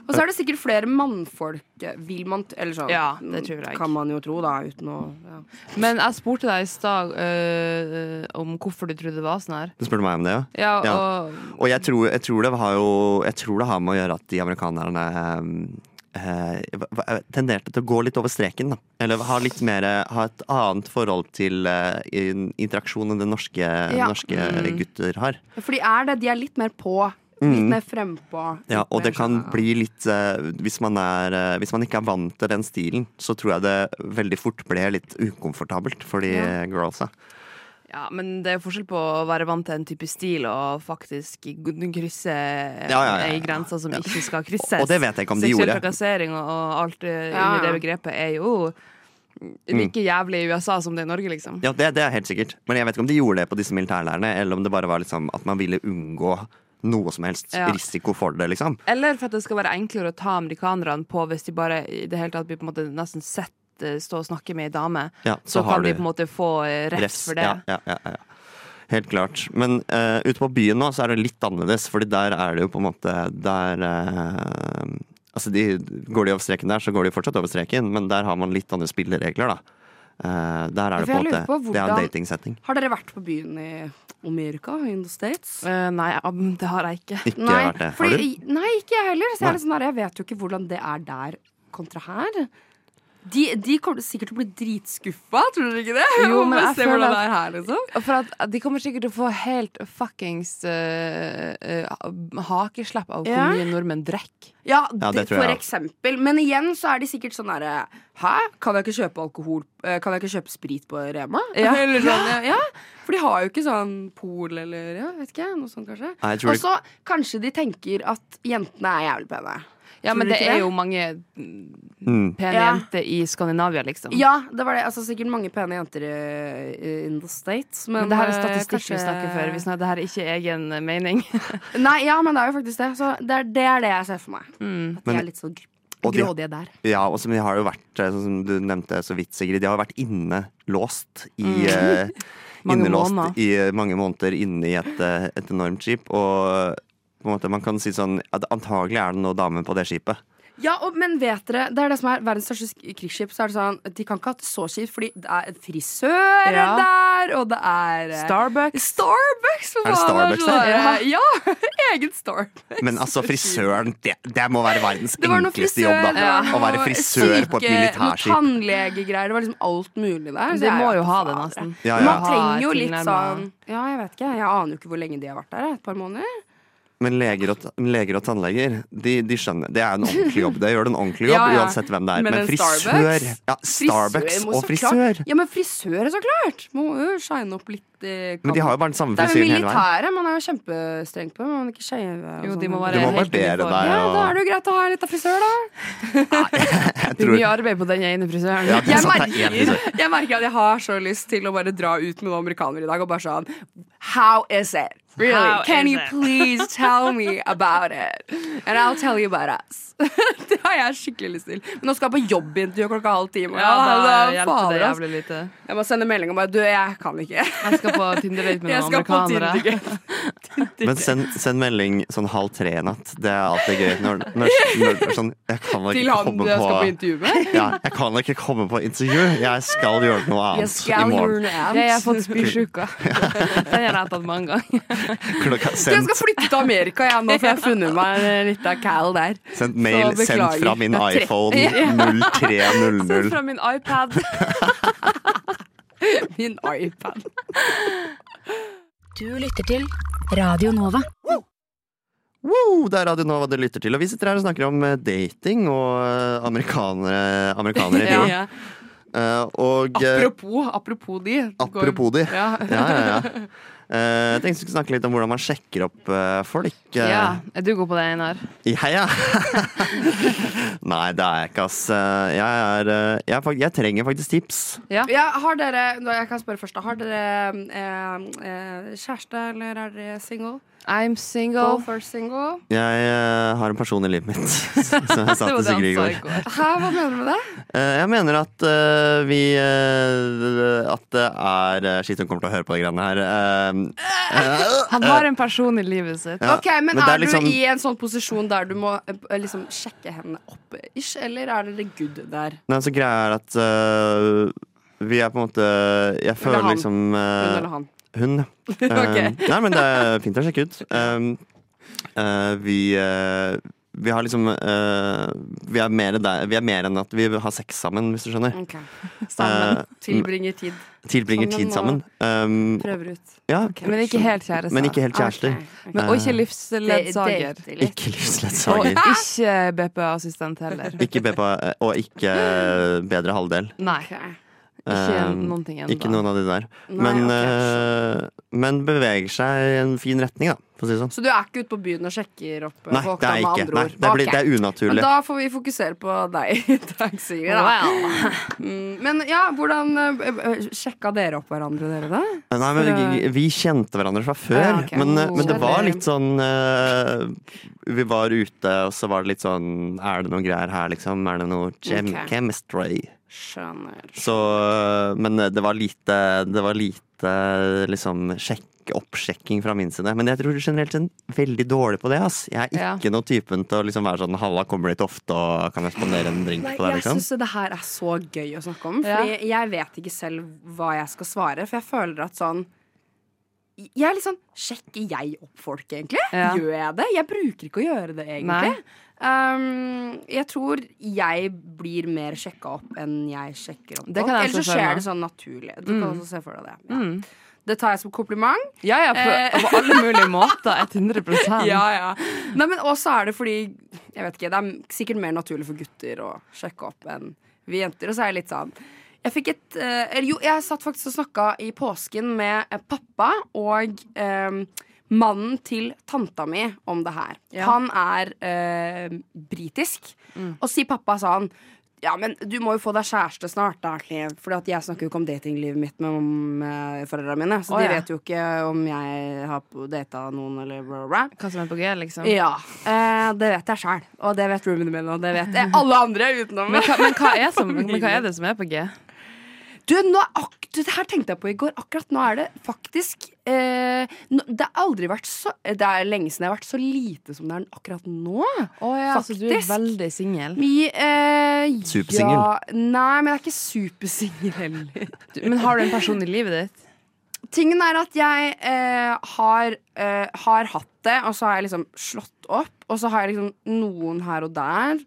Speaker 6: Og så er det sikkert flere mannfolk, eh, vil man t- Eller sånn,
Speaker 8: Ja, det tror jeg.
Speaker 6: kan man jo tro, da, uten å ja.
Speaker 8: Men jeg spurte deg i stad eh, om hvorfor du trodde det var sånn her.
Speaker 5: Du spurte meg om det, ja?
Speaker 8: Ja,
Speaker 5: Ja.
Speaker 8: og
Speaker 5: Og jeg tror, jeg tror det har jo Jeg tror det har med å gjøre at de amerikanerne eh, eh, tenderte til å gå litt over streken. Da. Eller ha litt mer eh, Ha et annet forhold til eh, in- interaksjon enn det norske,
Speaker 6: Ja.
Speaker 5: norske gutter har.
Speaker 6: For de er det. De er litt mer på. Litt mer frempå.
Speaker 5: Mm. Ja,
Speaker 6: litt
Speaker 5: og
Speaker 6: mer
Speaker 5: det kan
Speaker 6: sånn,
Speaker 5: bli litt eh, hvis, man er, eh, hvis man ikke er vant til den stilen, så tror jeg det veldig fort ble litt ukomfortabelt for de
Speaker 6: Ja.
Speaker 5: girlsa.
Speaker 8: Ja, men det er jo forskjell på å være vant til en type stil og faktisk krysse ei
Speaker 5: ja, ja, ja.
Speaker 8: grense som ikke skal krysses.
Speaker 5: Og det vet jeg ikke om de
Speaker 8: Seksuell
Speaker 5: gjorde.
Speaker 8: trakassering og, og alt eh,
Speaker 6: Ja,
Speaker 8: under det
Speaker 6: ja.
Speaker 8: begrepet er jo like jævlig i USA som det er i Norge, liksom.
Speaker 5: Mm. Ja, det, det er helt sikkert. Men jeg vet ikke om de gjorde det på disse militærlærerne, eller om det bare var liksom at man ville unngå noe som helst
Speaker 8: Ja.
Speaker 5: risiko for det, liksom.
Speaker 8: Eller for at det skal være enklere å ta amerikanerne på hvis de bare i det hele tatt blir på en måte nesten sett eh, stå og snakke med ei dame.
Speaker 5: Ja,
Speaker 8: Så,
Speaker 5: så har
Speaker 8: kan de
Speaker 5: du
Speaker 8: på en måte få eh, refs for det.
Speaker 5: Ja, ja, ja, ja. Helt klart. Men eh, ute på byen nå så er det litt annerledes, Fordi der er det jo på en måte Der eh, Altså, de, går de over streken der, så går de fortsatt over streken, men der har man litt andre spilleregler, da. Eh, der er det på en
Speaker 6: for jeg
Speaker 5: måte
Speaker 6: lurer på
Speaker 5: Det er en
Speaker 6: hvordan-
Speaker 5: datingsetting.
Speaker 6: Har dere vært på byen i Amerika? In the States?
Speaker 8: Eh, nei, am, det har jeg ikke.
Speaker 5: Ikke
Speaker 6: Nei,
Speaker 5: vært det. Har
Speaker 6: fordi,
Speaker 5: du?
Speaker 6: nei, ikke jeg heller. Så jeg,
Speaker 5: Nei.
Speaker 6: er litt sånn der, jeg vet jo ikke hvordan det er der kontra her. De, de kommer sikkert til å bli dritskuffa, tror dere ikke det?
Speaker 8: Jo,
Speaker 6: Om
Speaker 8: men
Speaker 6: å
Speaker 8: jeg
Speaker 6: se
Speaker 8: føler
Speaker 6: hvordan det
Speaker 8: at-
Speaker 6: er her, liksom.
Speaker 8: Og For at De kommer sikkert til å få helt fuckings eh, eh, hakeslepp av hvor
Speaker 6: Ja.
Speaker 8: mye nordmenn drikker.
Speaker 6: Ja,
Speaker 5: Ja, det
Speaker 6: det,
Speaker 5: tror jeg
Speaker 6: for
Speaker 5: også.
Speaker 6: eksempel. Men igjen så er de sikkert sånn derre Hæ? Kan jeg ikke kjøpe alkohol eh, Kan jeg ikke kjøpe sprit på Rema?
Speaker 8: Ja.
Speaker 6: Eller sånn, ja. ja. For de har jo ikke sånn pol eller ja, vet ikke, noe sånt kanskje.
Speaker 5: Nei, jeg tror
Speaker 6: Og
Speaker 5: det-
Speaker 6: så kanskje de tenker at jentene er jævlig pene.
Speaker 8: Ja,
Speaker 6: Tror
Speaker 8: men
Speaker 6: du
Speaker 8: det
Speaker 6: ikke
Speaker 8: er
Speaker 6: det?
Speaker 8: jo mange
Speaker 5: Mm.
Speaker 8: pene
Speaker 6: Ja.
Speaker 8: jenter i Skandinavia, liksom.
Speaker 6: Ja, det var det. Altså, sikkert mange pene jenter i, i- in the States. Men,
Speaker 8: Men det her er
Speaker 6: eh,
Speaker 8: statistikk
Speaker 6: kanskje-
Speaker 8: vi snakker for. Vi snakker, det her er ikke egen mening.
Speaker 6: Nei, ja, men det er jo faktisk det. Så det er det, er det jeg ser for meg.
Speaker 8: Mm.
Speaker 6: At de
Speaker 5: Men-
Speaker 6: er litt sånn gr-
Speaker 5: Og de-
Speaker 6: grådige der.
Speaker 5: Ja, og som de har jo vært, eh, sånn som du nevnte så vidt, Sigrid, de har vært innelåst i
Speaker 6: Mhm.
Speaker 5: eh,
Speaker 8: Mange
Speaker 5: Innelåst
Speaker 8: måneder.
Speaker 5: i eh, mange måneder inne i et, eh, et enormt skip. Og på en måte, man kan si sånn at antagelig er det noen damer på det skipet.
Speaker 6: Ja, og, men vet dere, det er det som er verdens største sk- krigsskip. Så er det sånn, De kan ikke ha hatt det så kjipt, fordi det er en frisør
Speaker 8: Ja.
Speaker 6: der, og det er eh,
Speaker 8: Starbucks.
Speaker 6: Starbucks, for
Speaker 5: Er det
Speaker 6: faen,
Speaker 5: Starbucks
Speaker 6: sånn
Speaker 5: der?
Speaker 6: der, eh, Ja, egen Starbucks.
Speaker 5: Men altså, frisøren, det, det må være verdens
Speaker 6: Det var noe
Speaker 5: enkleste
Speaker 6: frisør,
Speaker 5: jobb, da.
Speaker 6: det var
Speaker 5: Å være
Speaker 6: noe
Speaker 5: frisør på et
Speaker 6: syke- Noe
Speaker 5: militærskip.
Speaker 6: tannlegegreier. Det var liksom alt mulig der. så
Speaker 8: De
Speaker 6: jeg
Speaker 8: må
Speaker 6: vet
Speaker 8: jo ha
Speaker 6: faen,
Speaker 8: det,
Speaker 6: dere.
Speaker 8: nesten.
Speaker 5: Ja,
Speaker 6: Man
Speaker 5: ja.
Speaker 6: trenger jo litt
Speaker 8: Tilnærmet.
Speaker 6: sånn Ja, jeg vet ikke. Jeg aner jo ikke hvor lenge de har vært der. eh, Et par måneder.
Speaker 5: Men leger og, ta- leger og tannleger, de, de skjønner. Det er en ordentlig jobb. Det gjør du en ordentlig jobb
Speaker 6: Ja, ja.
Speaker 5: uansett hvem det er. Men
Speaker 6: Men en
Speaker 5: frisør
Speaker 6: Starbucks?
Speaker 5: ja, Starbucks
Speaker 6: må
Speaker 5: og
Speaker 6: så
Speaker 5: frisør!
Speaker 6: Klart. Ja, men frisør, så klart! Må jo shine opp litt. Eh,
Speaker 5: Men de har jo bare den samme
Speaker 6: det er jo
Speaker 5: frisyren hele veien.
Speaker 6: militæret. Man er jo kjempestreng på det. Man må ikke shave. og
Speaker 8: Jo,
Speaker 6: sånn.
Speaker 8: de må
Speaker 5: Du
Speaker 8: være
Speaker 5: må
Speaker 8: helt
Speaker 5: barbere
Speaker 8: uniform.
Speaker 5: deg.
Speaker 6: Ja,
Speaker 5: og-
Speaker 6: da er det jo greit å ha litt av frisør, da.
Speaker 5: Jeg
Speaker 8: Det er
Speaker 5: tror-
Speaker 8: mye arbeid på den ene frisøren.
Speaker 5: Ja, det er
Speaker 6: Jeg
Speaker 5: sant, det er én frisør.
Speaker 6: merker, jeg merker at jeg har så lyst til å bare dra ut med noen amerikanere i dag og bare sånn How is it? Really?
Speaker 8: How
Speaker 6: Can
Speaker 8: is
Speaker 6: you
Speaker 8: it?
Speaker 6: please tell me about it? And I'll tell you about us. det har jeg skikkelig lyst til. Men nå skal jeg på jobbintervju klokka halv ti.
Speaker 8: Ja, da hjelper det
Speaker 6: fader, ass.
Speaker 8: jævlig lite.
Speaker 6: altså? Jeg må sende melding og bare Du, jeg kan ikke.
Speaker 8: Jeg skal på Tinder-date med
Speaker 6: Jeg
Speaker 8: noen
Speaker 6: skal på
Speaker 8: amerikanere.
Speaker 5: Men send, send melding sånn halv tre i natt. Det er alltid gøy. Når, når, når, sånn, jeg kan
Speaker 6: Til
Speaker 5: ikke
Speaker 6: han du
Speaker 5: komme
Speaker 6: skal på
Speaker 5: på
Speaker 6: intervju med.
Speaker 5: ja, Jeg kan ikke komme på intervju. Jeg skal gjøre noe
Speaker 6: Jeg
Speaker 5: annet i
Speaker 6: skal gjøre
Speaker 5: morgen.
Speaker 6: noe annet.
Speaker 8: Jeg har fått spysjuka. Den har jeg tatt mange ganger.
Speaker 5: Klokka,
Speaker 6: Så Jeg
Speaker 5: send,
Speaker 6: skal flytte til Amerika jeg nå, for jeg har funnet meg litt av Cal der.
Speaker 5: send mail
Speaker 6: Så
Speaker 5: sendt
Speaker 6: beklager.
Speaker 5: fra min
Speaker 6: Ja, tre-
Speaker 5: iPhone 0300.
Speaker 8: Fra min iPad.
Speaker 6: Min iPad.
Speaker 9: Du lytter til Radio Nova.
Speaker 5: Woo! Det er Radio Nova du lytter til, og vi sitter her og snakker om eh, dating og eh, amerikanere, amerikanere i
Speaker 8: Ja.
Speaker 5: fjor. Eh, og eh,
Speaker 6: Apropos, apropos de.
Speaker 5: apropos de.
Speaker 6: Ja.
Speaker 5: Ja, ja, ja. Eh, jeg tenkte vi skulle snakke litt om hvordan man sjekker opp eh, folk. eh,
Speaker 8: Ja, Er du god på det, Einar?
Speaker 5: I heia! Nei, det er jeg ikke, ass. Eh, Jeg, er, eh, jeg, er, fak- jeg trenger faktisk tips.
Speaker 6: Ja, har dere nå, Jeg kan spørre først. da. Har dere eh, eh, kjæreste, eller er dere single?
Speaker 8: I'm
Speaker 6: Go
Speaker 8: single.
Speaker 6: for single.
Speaker 5: Jeg eh, har en person i livet mitt som jeg sa
Speaker 8: Det
Speaker 5: til
Speaker 8: var det han
Speaker 5: Sigrid i
Speaker 8: sa
Speaker 5: går.
Speaker 8: i går.
Speaker 6: Hæ, hva mener du med det?
Speaker 5: Eh, Jeg mener at eh, vi eh, At det er eh, Shit, hun kommer til å høre på de greiene her. Eh, eh,
Speaker 8: Han har en person i livet sitt.
Speaker 5: Ja,
Speaker 6: Ok, Men,
Speaker 5: men det
Speaker 6: er,
Speaker 5: er liksom-
Speaker 6: du i en sånn posisjon der du må eh, liksom sjekke henne opp, ish, eller er dere good der?
Speaker 5: Nei, så greia er at øh, vi er på en måte Jeg føler
Speaker 6: han.
Speaker 5: liksom
Speaker 6: Hun
Speaker 5: øh,
Speaker 6: eller han?
Speaker 5: Hun.
Speaker 6: Ok.
Speaker 5: Um, nei, men det er fint å sjekke ut. Um, øh, vi øh, vi har liksom øh, vi, er mer der, vi er mer enn at vi har sex sammen, hvis du skjønner.
Speaker 6: Ok,
Speaker 5: Eh,
Speaker 6: Sammen. Tilbringer tid.
Speaker 5: Tilbringer
Speaker 6: Sammen
Speaker 5: tid
Speaker 6: og-
Speaker 5: sammen. Um,
Speaker 6: Prøver ut.
Speaker 5: ja,
Speaker 8: Men ikke helt kjæreste.
Speaker 5: men ikke helt kjærester.
Speaker 6: Ok, ok.
Speaker 8: Men, og ikke
Speaker 6: Det-
Speaker 8: livsledsager.
Speaker 6: date litt.
Speaker 5: Ikke
Speaker 8: Og
Speaker 5: livsledsager.
Speaker 8: ikke BPA-assistent heller.
Speaker 5: Ikke BPA, eh, og ikke bedre halvdel.
Speaker 8: Nei.
Speaker 6: Ok.
Speaker 8: Ikke
Speaker 5: Um,
Speaker 8: noen ting
Speaker 5: Ikke
Speaker 8: ennå.
Speaker 5: noen av de der.
Speaker 6: Nei,
Speaker 5: Men,
Speaker 6: ok,
Speaker 5: øh, men beveger seg i en fin retning, da, for å si det sånn.
Speaker 6: Så du er ikke ute på byen og sjekker opp eh,
Speaker 5: Nei,
Speaker 6: folk?
Speaker 5: det
Speaker 6: da,
Speaker 5: er
Speaker 6: med
Speaker 5: ikke.
Speaker 6: andre
Speaker 5: Nei,
Speaker 6: ord?
Speaker 5: det, blir,
Speaker 6: Ok.
Speaker 5: det er
Speaker 6: Men
Speaker 5: unaturlig.
Speaker 6: da får vi fokusere på deg i dag, Sigrid. da.
Speaker 8: Wow.
Speaker 6: Mm, Men ja, hvordan eh, eh, sjekka dere opp hverandre, dere da?
Speaker 5: Nei, men vi,
Speaker 6: så-
Speaker 5: vi kjente hverandre fra før,
Speaker 6: Ja, ok.
Speaker 5: men, eh,
Speaker 8: Oh.
Speaker 5: men det var litt sånn eh, Vi var ute, og så var det litt sånn Er det noe greier her, liksom? Er det noe chem
Speaker 6: Ok.
Speaker 5: chemistry?
Speaker 6: Skjønner.
Speaker 5: Så eh, Men eh, det var lite Det var lite liksom sjekk Oppsjekking fra min side. Men jeg tror generelt sett veldig dårlig på det. ass Jeg er
Speaker 8: Ja.
Speaker 5: ikke noe typen til å liksom være sånn 'halla, kommer dit ofte og kan jeg spandere en drink
Speaker 6: Nei,
Speaker 5: på deg',
Speaker 6: jeg
Speaker 5: liksom.
Speaker 6: syns det her er så gøy å snakke om.
Speaker 8: Ja.
Speaker 6: Fordi jeg vet ikke selv hva jeg skal svare, for jeg føler at sånn jeg er litt sånn Sjekker jeg opp folk, egentlig?
Speaker 8: Ja.
Speaker 6: Gjør jeg det? Jeg bruker ikke å gjøre det, egentlig.
Speaker 8: Nei.
Speaker 6: Um, jeg tror jeg blir mer sjekka opp enn jeg sjekker opp.
Speaker 8: Det kan jeg
Speaker 6: Eller så
Speaker 8: også skjønne.
Speaker 6: skjer det sånn naturlig. Du
Speaker 8: Mm.
Speaker 6: kan også se for deg det. Ja. Det tar jeg som kompliment.
Speaker 8: Ja, ja, på, på alle mulige måter. 100
Speaker 6: Eh. Ja, ja. Nei, men også er det fordi Jeg vet ikke, det er sikkert mer naturlig for gutter å sjekke opp enn vi jenter. Og så er jeg litt sånn Jeg fikk et eh, Eller jo, jeg satt faktisk og snakka i påsken med eh, pappa og eh, Mannen til tanta mi om det her. Han er eh, britisk. Og si pappa sa han ja, men du må jo få deg kjæreste snart, da. For jeg snakker jo ikke om datinglivet mitt med om, eh, foreldrene mine. Så
Speaker 8: Å,
Speaker 6: de
Speaker 8: ja.
Speaker 6: vet jo ikke om jeg har data noen, eller bla, bla, bla.
Speaker 8: Hva som er på G, liksom.
Speaker 6: Ja, eh, det vet jeg sjøl. Og det vet roomiene mine, og det vet eh, alle andre utenom.
Speaker 8: Men hva, men, hva er som, men hva er det som er på G?
Speaker 6: Du, nå er ak du, det her tenkte jeg på i går. Akkurat nå er det faktisk eh, nå, Det har aldri vært så Det er lenge siden jeg har vært så lite som det er akkurat nå.
Speaker 8: Å ja, så du er
Speaker 6: Faktisk.
Speaker 8: veldig singel.
Speaker 6: Vi eh,
Speaker 5: Supersingel.
Speaker 6: Ja, nei, men jeg er ikke supersingel heller.
Speaker 8: Du- Men har du en person i livet ditt?
Speaker 6: Tingen er at jeg eh, har, eh, har hatt det, og så har jeg liksom slått opp. Og så har jeg liksom noen her og der.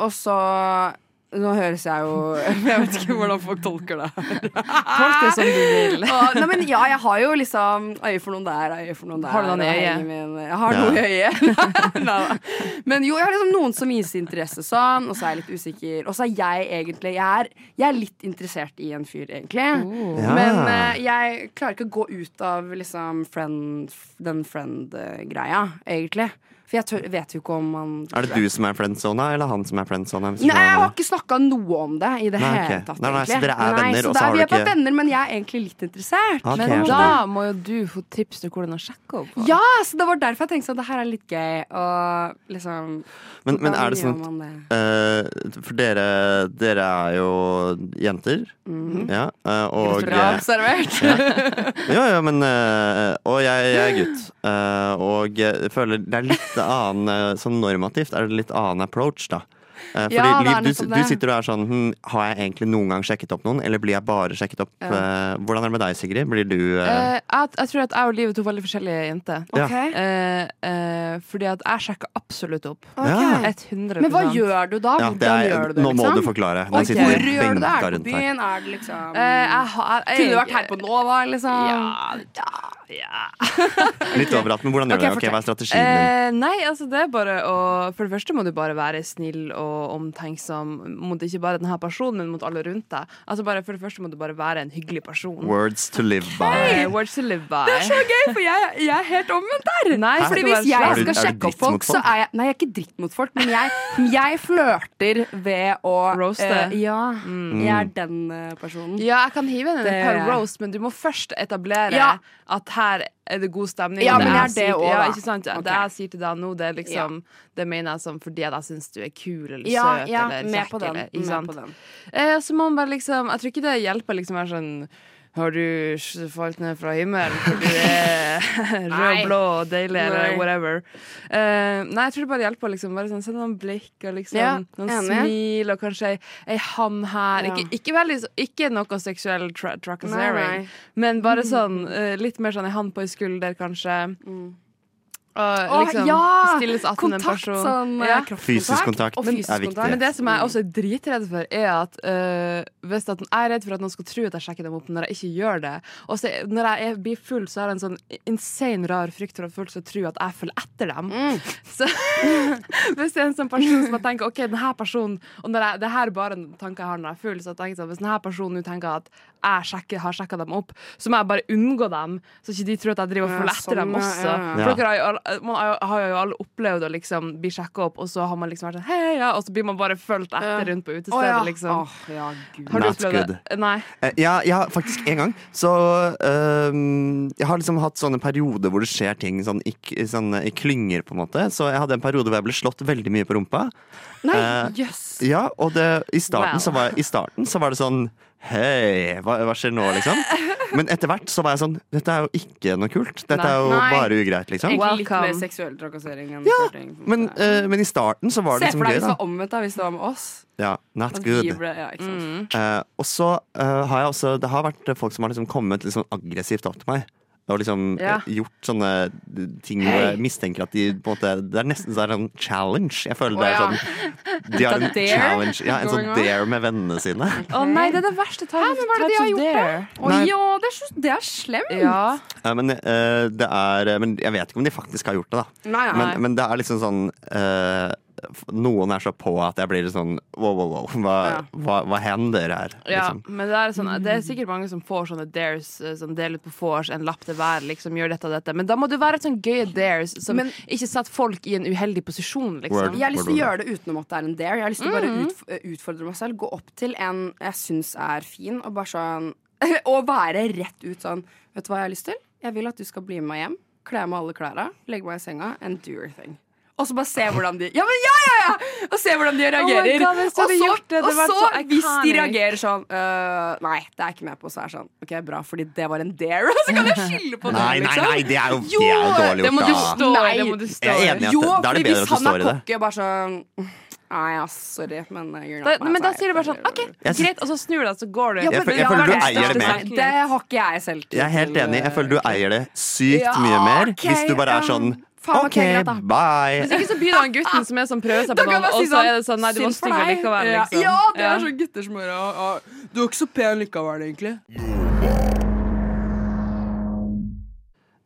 Speaker 6: Og så Nå høres jeg jo Jeg vet ikke hvordan folk tolker det.
Speaker 8: Folk Ah. det som du vil.
Speaker 6: Og, nei, men ja, jeg har jo liksom øye for noen der, øye for noen der.
Speaker 8: Har du noen i
Speaker 6: og
Speaker 8: øyet?
Speaker 6: henge med en- Jeg har
Speaker 5: Ja.
Speaker 6: noe i øyet. Neida. men jo, jeg har liksom noen som viser interesse sånn, og så er jeg litt usikker. Og så er jeg egentlig Jeg er, jeg er litt interessert i en fyr, egentlig.
Speaker 8: Oh.
Speaker 5: Ja.
Speaker 6: Men eh, jeg klarer ikke å gå ut av liksom friend, den friend-greia, egentlig. For jeg tør, vet jo ikke om man
Speaker 5: Er det du som er friendzona, eller han som er friendzona? hvis du
Speaker 6: Nei, jeg
Speaker 5: skjønner?
Speaker 6: har ikke snakket snakka noe om det i det
Speaker 5: Nei,
Speaker 6: hele
Speaker 5: ok.
Speaker 6: tatt.
Speaker 5: Nei, nei, så
Speaker 6: egentlig.
Speaker 5: dere er venner,
Speaker 6: så
Speaker 5: og så
Speaker 6: det
Speaker 5: har
Speaker 6: er, vi
Speaker 5: du
Speaker 6: er bare
Speaker 5: ikke-
Speaker 6: venner, men jeg er egentlig litt interessert.
Speaker 5: Ok,
Speaker 8: Men
Speaker 5: jeg skjønner.
Speaker 8: da må jo du få tips til hvordan å sjekke opp. på.
Speaker 6: Ja, så det var derfor jeg tenkte sånn, det her er litt gøy. Og liksom
Speaker 5: men, men
Speaker 6: hvordan
Speaker 5: er det
Speaker 6: gjør
Speaker 5: sånn at
Speaker 6: man det?
Speaker 5: eh, For dere, dere er jo jenter.
Speaker 6: Mhm.
Speaker 5: Ja, eh, og
Speaker 6: Bra altså? observert.
Speaker 5: Jo, jo, men eh, Og jeg, jeg er gutt. eh, og jeg føler det er litt annen eh, Sånn normativt er det litt annen approach, da. Eh, fordi
Speaker 6: Ja, det er
Speaker 5: Liv, du,
Speaker 6: nettopp
Speaker 5: du
Speaker 6: det.
Speaker 5: sitter og er sånn hm, Har jeg egentlig noen gang sjekket opp noen, eller blir jeg bare sjekket opp? eh, hvordan er det med deg, Sigrid? Blir du eh,
Speaker 8: Eh, jeg, jeg tror at jeg og Liv er to veldig forskjellige jenter.
Speaker 5: Ja.
Speaker 6: Ok.
Speaker 8: Eh, eh, fordi at jeg sjekker absolutt opp.
Speaker 5: Ja.
Speaker 6: Ok.
Speaker 8: 100
Speaker 6: Men hva gjør du da?
Speaker 5: ja,
Speaker 6: Hvordan
Speaker 5: det er,
Speaker 6: gjør du det?
Speaker 5: Nå må
Speaker 6: liksom?
Speaker 5: du forklare. Nå
Speaker 6: Og
Speaker 5: sitter
Speaker 6: hvor
Speaker 5: vi
Speaker 6: gjør du det?
Speaker 5: benka
Speaker 6: Er det
Speaker 5: rundt
Speaker 6: på
Speaker 5: her.
Speaker 6: byen? Er det liksom
Speaker 8: Eh, jeg, har- jeg,
Speaker 6: Kunne du vært her på Nova, liksom?
Speaker 8: Ja,
Speaker 5: Litt overalt, men hvordan gjør
Speaker 6: Ok,
Speaker 5: du det? Ok, hva er strategien din?
Speaker 8: Eh, nei, altså det er bare å For det første må du bare være snill og omtenksom mot ikke bare denne personen, men mot alle rundt deg. Altså bare, For det første må du bare være en hyggelig person.
Speaker 5: Words to live by.
Speaker 8: Eh, words to live by.
Speaker 6: gøy, for jeg, jeg er helt omvendt der.
Speaker 8: Nei,
Speaker 6: Fordi
Speaker 8: skal
Speaker 6: hvis
Speaker 8: være
Speaker 6: jeg
Speaker 5: Er du-
Speaker 6: skal
Speaker 5: er du dritt
Speaker 6: sjekke opp folk,
Speaker 5: mot
Speaker 6: så
Speaker 5: folk?
Speaker 6: er jeg Nei, jeg er ikke dritt mot folk, men jeg, jeg flørter ved å
Speaker 8: Roaste.
Speaker 6: eh, ja.
Speaker 5: Mm.
Speaker 6: Jeg er den eh, personen.
Speaker 8: Ja, jeg kan hive inn en
Speaker 6: Det-
Speaker 8: par roast, men du må først etablere
Speaker 6: Ja.
Speaker 8: at her er det god stemning.
Speaker 6: Ja,
Speaker 8: og
Speaker 6: men
Speaker 8: jeg
Speaker 6: jeg er det
Speaker 8: sier-
Speaker 6: også,
Speaker 8: ja,
Speaker 6: da.
Speaker 8: ikke sant?
Speaker 6: Ok.
Speaker 8: Det jeg sier til deg nå, det er liksom Det mener jeg som fordi at jeg syns du er kul eller
Speaker 6: Ja,
Speaker 8: søt
Speaker 6: ja,
Speaker 8: eller
Speaker 6: med
Speaker 8: kjekk.
Speaker 6: på den.
Speaker 8: Eller, ikke
Speaker 6: Med
Speaker 8: sant?
Speaker 6: på den.
Speaker 8: Eh, så må man bare liksom Jeg tror ikke det hjelper liksom å være sånn har du s- falt ned fra himmelen for du er rød,
Speaker 6: Nei.
Speaker 8: blå og deilig eller
Speaker 6: Nei.
Speaker 8: whatever? Eh, nei, jeg tror det bare hjelper å liksom, bare sånn, sende noen blikk og liksom,
Speaker 6: Ja,
Speaker 8: noen
Speaker 6: enig.
Speaker 8: smil og kanskje ei, ei ham her.
Speaker 6: Ja.
Speaker 8: Ikke, ikke, veldig, så- ikke noe seksuell tra
Speaker 6: Nei,
Speaker 8: trakassering,
Speaker 6: nei.
Speaker 8: men bare sånn eh, litt mer sånn ei hand på ei skulder, kanskje. Og
Speaker 6: Mm. Å,
Speaker 8: liksom
Speaker 6: ja!
Speaker 8: stilles att til en
Speaker 6: Kontakt
Speaker 8: person.
Speaker 6: sånn eh,
Speaker 8: Ja.
Speaker 5: Fysisk kontakt
Speaker 6: og
Speaker 5: er
Speaker 6: fysisk
Speaker 5: viktig.
Speaker 6: kontakt.
Speaker 8: Men det som jeg også er dritredd for, er at øh, hvis at jeg er redd for at noen skal tro at jeg sjekker dem opp når jeg ikke gjør det. Og så, når jeg er, blir full, så har jeg en sånn insane rar frykt for at folk skal tro at jeg følger etter dem.
Speaker 6: Mm.
Speaker 8: Så hvis det er en sånn person som jeg tenker Ok, den her personen Og når jeg, det her er bare en tanke jeg har når jeg er full, så jeg tenker sånn, hvis denne personen nå tenker at jeg sjekker, har sjekka dem opp, så må jeg bare unngå dem, så ikke de tror at jeg driver og
Speaker 6: Ja,
Speaker 8: følger etter
Speaker 6: sånn,
Speaker 8: dem
Speaker 6: ja,
Speaker 8: også.
Speaker 6: ja, ja.
Speaker 8: For dere har jo alle, eh, man har jo- har jo alle opplevd å liksom bli sjekka opp, og så har man liksom vært sånn hei, ja, og så blir man bare fulgt etter rundt på
Speaker 6: Å,
Speaker 8: utestedet,
Speaker 6: ja.
Speaker 8: liksom.
Speaker 6: Åh, ja, gud.
Speaker 8: Har du
Speaker 5: Not
Speaker 8: opplevd det? Nei.
Speaker 5: Eh, Ja, ja, faktisk en gang. Så øhm, Jeg har liksom hatt sånne perioder hvor det skjer ting sånn i, k- sånn, i klynger, på en måte. Så jeg hadde en periode hvor jeg ble slått veldig mye på rumpa.
Speaker 6: Nei,
Speaker 5: Eh,
Speaker 6: jøss.
Speaker 5: Ja, og det, i, starten
Speaker 8: Wow.
Speaker 5: så var, I starten så var det sånn Hei, hva, hva skjer nå, liksom? Men etter hvert så var jeg sånn Dette er jo ikke noe kult. Dette er jo
Speaker 6: Nei.
Speaker 5: bare ugreit, liksom.
Speaker 6: Egentlig litt
Speaker 8: welcome.
Speaker 6: mer seksuell trakassering enn
Speaker 5: Ja,
Speaker 6: flørting. på en
Speaker 5: Men,
Speaker 6: måte.
Speaker 5: eh, men i starten så var det
Speaker 6: Se
Speaker 5: liksom
Speaker 6: for deg
Speaker 5: gøy,
Speaker 6: hvis det
Speaker 5: da.
Speaker 6: var Sånn omvendt da, hvis det var med oss.
Speaker 5: Ja, not
Speaker 6: At
Speaker 5: good.
Speaker 6: vi ble, ja, ikke sant?
Speaker 5: Eh, og så eh, har jeg også Det har vært folk som har liksom kommet liksom aggressivt opp til meg. Og liksom
Speaker 8: Ja.
Speaker 5: eh, gjort sånne eh, ting hvor jeg mistenker at de på en måte Det er nesten så er det en challenge. Jeg føler det er
Speaker 6: Å,
Speaker 5: sånn De har en
Speaker 6: dare
Speaker 5: challenge. Ja, en
Speaker 6: going
Speaker 5: sånn
Speaker 6: on.
Speaker 5: dare med vennene sine.
Speaker 8: Å nei, det er det verste. Tar,
Speaker 6: men hva er det de har gjort Å
Speaker 5: Nei.
Speaker 6: ja, det er, så, det er slemt!
Speaker 8: Ja.
Speaker 5: Eh, men, eh, det er, men jeg vet ikke om de faktisk har gjort det, da.
Speaker 6: Nei, nei.
Speaker 5: Men, men det er liksom sånn eh, f- Noen er så på at jeg blir sånn wow, wow, wow. Hva,
Speaker 6: Ja.
Speaker 5: hva, hva hender her?
Speaker 8: Ja,
Speaker 5: Liksom.
Speaker 8: men det er, sånn, det er sikkert mange som får sånne dares, eh, som deler ut på vors, en lapp til hver, liksom, gjør dette og dette. Men da må det være et sånn gøye dares som
Speaker 6: Men-
Speaker 8: ikke setter folk i en uheldig posisjon, liksom.
Speaker 5: Word.
Speaker 6: Jeg har lyst til å gjøre det utenom at det er en dare. Jeg har lyst til å bare
Speaker 8: Mm.
Speaker 6: utf- eh, utfordre meg selv. Gå opp til en jeg syns er fin, og bare sånn Og være rett ut sånn Vet du hva jeg har lyst til? Jeg vil at du skal bli med meg hjem. Kle av meg alle klærne, legge meg i senga, and do your thing. Og så bare se hvordan de Ja, men ja, ja, ja! Og se hvordan de reagerer.
Speaker 8: Oh God, hvis du
Speaker 6: og
Speaker 8: hadde
Speaker 6: så,
Speaker 8: gjort det, det
Speaker 6: og
Speaker 8: hadde
Speaker 6: så,
Speaker 8: vært så
Speaker 6: hvis de
Speaker 8: iconic.
Speaker 6: reagerer sånn «Øh, Nei, det er jeg ikke med på, så er det sånn OK, bra, fordi det var en dare. Og så kan jeg skylde på det,
Speaker 5: Nei, nei,
Speaker 6: liksom.
Speaker 5: nei, det er jo, det er jo dårlig
Speaker 8: det må
Speaker 5: gjort,
Speaker 8: du
Speaker 5: da.
Speaker 8: stå i,
Speaker 6: Nei.
Speaker 8: det må du stå
Speaker 5: Jeg
Speaker 8: i.
Speaker 5: er enig i at
Speaker 6: Jo,
Speaker 5: det- da er
Speaker 6: fordi
Speaker 5: det bedre at
Speaker 6: hvis
Speaker 5: du
Speaker 6: han
Speaker 5: står i
Speaker 6: er
Speaker 5: det.
Speaker 6: kokke, bare sånn Nei, ja, sorry, men jeg gjør
Speaker 8: Da,
Speaker 6: det på meg,
Speaker 8: men da
Speaker 6: så
Speaker 8: sier du bare
Speaker 6: altså, jeg-
Speaker 8: sånn OK,
Speaker 5: Jeg syns-
Speaker 8: greit, og så snur du deg, så går du.
Speaker 6: Ja,
Speaker 5: Jeg
Speaker 6: men
Speaker 5: føl- jeg
Speaker 6: ja,
Speaker 5: føler
Speaker 6: det
Speaker 5: du
Speaker 6: er
Speaker 5: eier det
Speaker 6: største
Speaker 5: mer.
Speaker 6: saken. Det har ikke jeg selv tid
Speaker 5: Jeg er helt
Speaker 6: til,
Speaker 5: enig. Jeg føler du
Speaker 6: eh,
Speaker 5: eier det sykt
Speaker 6: Ja,
Speaker 5: mye mer
Speaker 6: ok,
Speaker 5: hvis du bare er
Speaker 6: ja.
Speaker 5: sånn
Speaker 6: Faen,
Speaker 5: OK,
Speaker 6: ok, greit da.
Speaker 5: bye.
Speaker 8: Hvis ikke så blir det han gutten som er sånn prøver seg på
Speaker 6: Da kan jeg
Speaker 8: noen,
Speaker 6: bare
Speaker 8: og
Speaker 6: si
Speaker 8: så er det sånn Nei, du var
Speaker 6: synd for
Speaker 8: stygg
Speaker 6: deg.
Speaker 8: likevel,
Speaker 6: Ja,
Speaker 8: liksom.
Speaker 6: Ja, det
Speaker 8: Ja.
Speaker 6: er sånn gutter som bare «Å, å, Du er ikke så pen likevel, egentlig.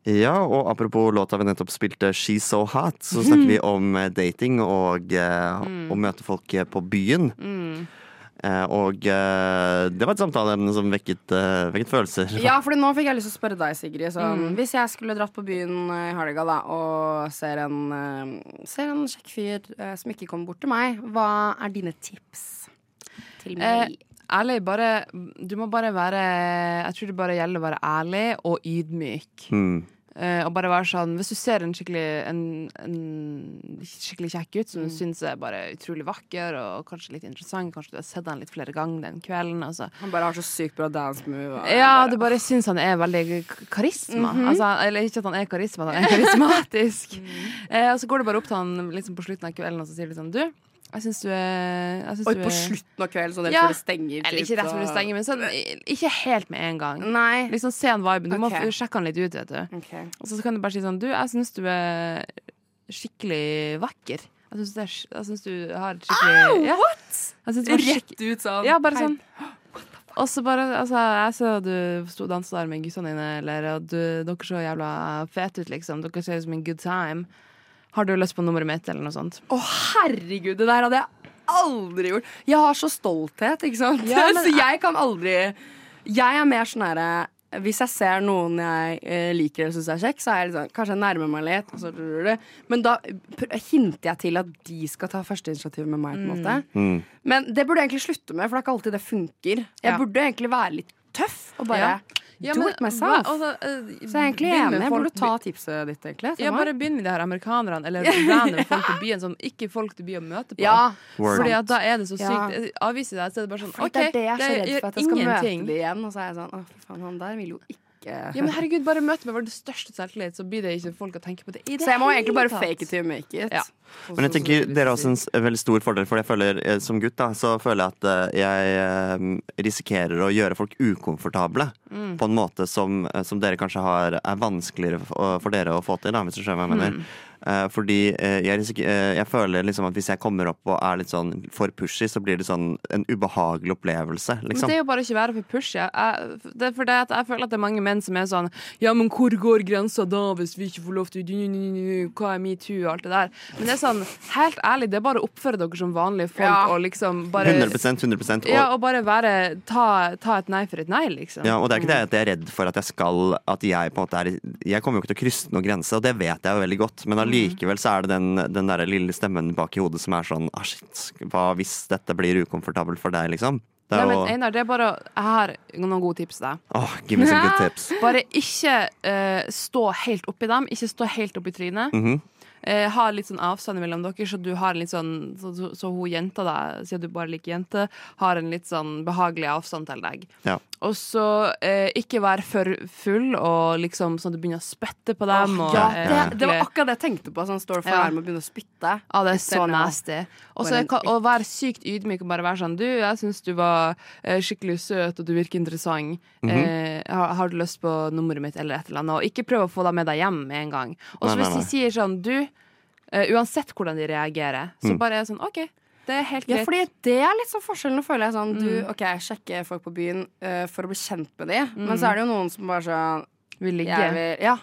Speaker 5: Ja, og apropos låta vi nettopp spilte, She's So Hot, så snakker vi om eh, dating og eh,
Speaker 6: Mm.
Speaker 5: å møte folk eh, på byen. Eh, og eh, det var et samtaleemne som vekket, eh, vekket følelser.
Speaker 6: Ja, for nå fikk jeg lyst til å spørre deg, Sigrid. Sånn, Hvis jeg skulle dratt på byen eh, i helga da, og ser en, eh, ser en kjekk fyr eh, som ikke kommer bort til meg, hva er dine tips?
Speaker 10: til
Speaker 8: Eh,
Speaker 10: meg.
Speaker 8: ærlig, bare Du må bare være Jeg tror det bare gjelder å være ærlig og ydmyk.
Speaker 5: Mm.
Speaker 8: Eh, og bare være sånn Hvis du ser en skikkelig En, en skikkelig kjekk gutt
Speaker 6: Mm.
Speaker 8: som du syns er bare utrolig vakker og kanskje litt interessant, kanskje du har sett han litt flere ganger den kvelden altså, og så-
Speaker 6: Han bare har så sykt bra dance move. og-
Speaker 8: Ja, du bare syns han er veldig k- karisma.
Speaker 6: Mhm.
Speaker 8: altså, eller ikke at han er karisma, at han er karismatisk. eh, og så går du bare opp til han liksom på slutten av kvelden og så sier du sånn Du, jeg syns du er jeg synes
Speaker 6: Oi,
Speaker 8: du
Speaker 6: på
Speaker 8: er-
Speaker 6: slutten av kvelden, sånn rett
Speaker 8: Ja.
Speaker 6: før det stenger.
Speaker 8: Eller
Speaker 6: typ,
Speaker 8: ikke rett før du
Speaker 6: så-
Speaker 8: stenger, men sånn, ikke helt med en gang.
Speaker 6: Nei.
Speaker 8: Liksom se en viben. Du må
Speaker 6: Ok.
Speaker 8: f- sjekke han litt ut, vet du.
Speaker 6: Ok.
Speaker 8: Og så kan du bare si sånn Du, jeg syns du er skikkelig vakker. Jeg syns, det er, sk- jeg synes du har et skikkelig ja. Jeg synes du har skikk-
Speaker 6: Rett ut sånn.
Speaker 8: Ja, bare
Speaker 6: Hei.
Speaker 8: sånn. Og så bare Altså, jeg så du sto og dansa der med guttene dine, eller og du, dere så jævla fete ut, liksom. Dere ser ut som en good time. Har du lyst på nummeret mitt, eller noe sånt?
Speaker 6: Å, herregud, det der hadde jeg aldri gjort. Jeg har så stolthet, ikke sant?
Speaker 8: Ja, men-
Speaker 6: så jeg kan aldri Jeg er mer sånn herre Hvis jeg ser noen jeg eh, liker eller syns er kjekk, så er jeg litt sånn Kanskje jeg nærmer meg litt, og så Men da pr- hinter jeg til at de skal ta første initiativ med meg, på en måte.
Speaker 5: Mm.
Speaker 6: Men det burde jeg egentlig slutte med, for det er ikke alltid det funker. Jeg
Speaker 8: Ja.
Speaker 6: burde egentlig være litt tøff og bare
Speaker 8: Ja. altså,
Speaker 6: do it myself.
Speaker 8: eh,
Speaker 6: så jeg er egentlig enig. Jeg burde ta tipset ditt, egentlig.
Speaker 8: Ja,
Speaker 6: Thelma.
Speaker 8: bare begynn med de her amerikanerne, eller random folk på byen. Sånn, ikke folk du blir å møte på.
Speaker 6: ja.
Speaker 5: Word.
Speaker 8: Fordi at da er det så sykt.
Speaker 6: Ja.
Speaker 8: Jeg Avviser deg, så er det bare sånn
Speaker 6: Fordi
Speaker 8: OK,
Speaker 6: det er det jeg er så redd for at jeg skal møte det igjen. Og så er jeg sånn Å, fy faen, han der vil jo ikke
Speaker 8: Ja, men herregud, bare møt meg med den største selvtillit, så blir det ikke folk å tenke på det. i det
Speaker 6: Så jeg må egentlig bare
Speaker 8: hele tatt.
Speaker 6: fake it till you make it.
Speaker 8: Ja.
Speaker 5: Men jeg tenker dere har også en s- en veldig stor fordel, for jeg føler eh, som gutt da, så føler jeg at eh, jeg eh, risikerer å gjøre folk ukomfortable
Speaker 8: Mm.
Speaker 5: på en måte som, eh, som dere kanskje har, er vanskeligere for, for dere å få til, da, hvis du skjønner hva
Speaker 8: Mm.
Speaker 5: jeg mener. Eh, Fordi eh, jeg, risik- eh, jeg føler liksom at hvis jeg kommer opp og er litt sånn for pushy, så blir det sånn en ubehagelig opplevelse,
Speaker 8: Men
Speaker 5: liksom.
Speaker 8: det er jo bare ikke være for pushy. Jeg, det er fordi at jeg føler at det er mange menn som er sånn Ja, men hvor går grensa da, hvis vi ikke får lov til Hva er metoo og alt det der? Men det er sånn, helt ærlig, det er bare å oppføre dere som vanlige folk
Speaker 6: Ja.
Speaker 8: og liksom bare
Speaker 5: 100 100 og,
Speaker 8: Ja, og bare være ta, ta et nei for et nei, liksom.
Speaker 5: Ja, og det er ikke det at jeg er redd for at jeg skal At jeg på en måte er Jeg kommer jo ikke til å krysse noen grense, og det vet jeg jo veldig godt. Men allikevel så er det den, den der lille stemmen bak i hodet som er sånn ah, shit, Hva hvis dette blir ukomfortabelt for deg, liksom? Det
Speaker 8: Nei,
Speaker 5: er
Speaker 8: men
Speaker 5: jo
Speaker 8: Einar, det er bare å- Jeg har noen gode tips til deg.
Speaker 5: Åh, give me some good tips.
Speaker 8: Bare ikke eh, stå helt oppi dem. Ikke stå helt oppi trynet.
Speaker 5: Mhm.
Speaker 8: Eh, ha litt sånn avstand mellom dere, så du har litt sånn Så, så, så hun jenta, da, siden du bare liker jenter, har en litt sånn behagelig avstand til deg.
Speaker 5: Ja.
Speaker 8: Og så eh, ikke være for full og liksom sånn at du begynner å spytte på dem. og,
Speaker 6: ja,
Speaker 8: eh,
Speaker 6: det, det var
Speaker 8: virkelig-
Speaker 6: akkurat det jeg tenkte på. Sånn står for
Speaker 8: Ja.
Speaker 6: nærme og begynner å spytte.
Speaker 8: Ja, det er så
Speaker 6: Den er
Speaker 8: nasty. Og
Speaker 6: bare
Speaker 8: så
Speaker 6: en
Speaker 8: kan- å være sykt ydmyk og bare være sånn Du, jeg syns du var eh, skikkelig søt, og du virker interessant.
Speaker 6: Mhm.
Speaker 8: eh, har, har du lyst på nummeret mitt, eller et eller annet? Og ikke prøv å få deg med deg hjem med en gang. Og så
Speaker 5: Nei,
Speaker 8: hvis
Speaker 5: nei,
Speaker 8: de sier sånn Du, eh, uansett hvordan de reagerer, så bare er det sånn OK, det er helt
Speaker 6: Mm. Ja,
Speaker 8: greit.
Speaker 6: fordi det er litt sånn forskjellen. Nå føler jeg sånn Du,
Speaker 8: Mm.
Speaker 6: OK, jeg sjekker folk på byen eh, for å bli kjent med de,
Speaker 8: Mm.
Speaker 6: men så er det jo noen som bare sånn
Speaker 8: vi
Speaker 6: Jeg
Speaker 8: ligger.
Speaker 6: vil Ja.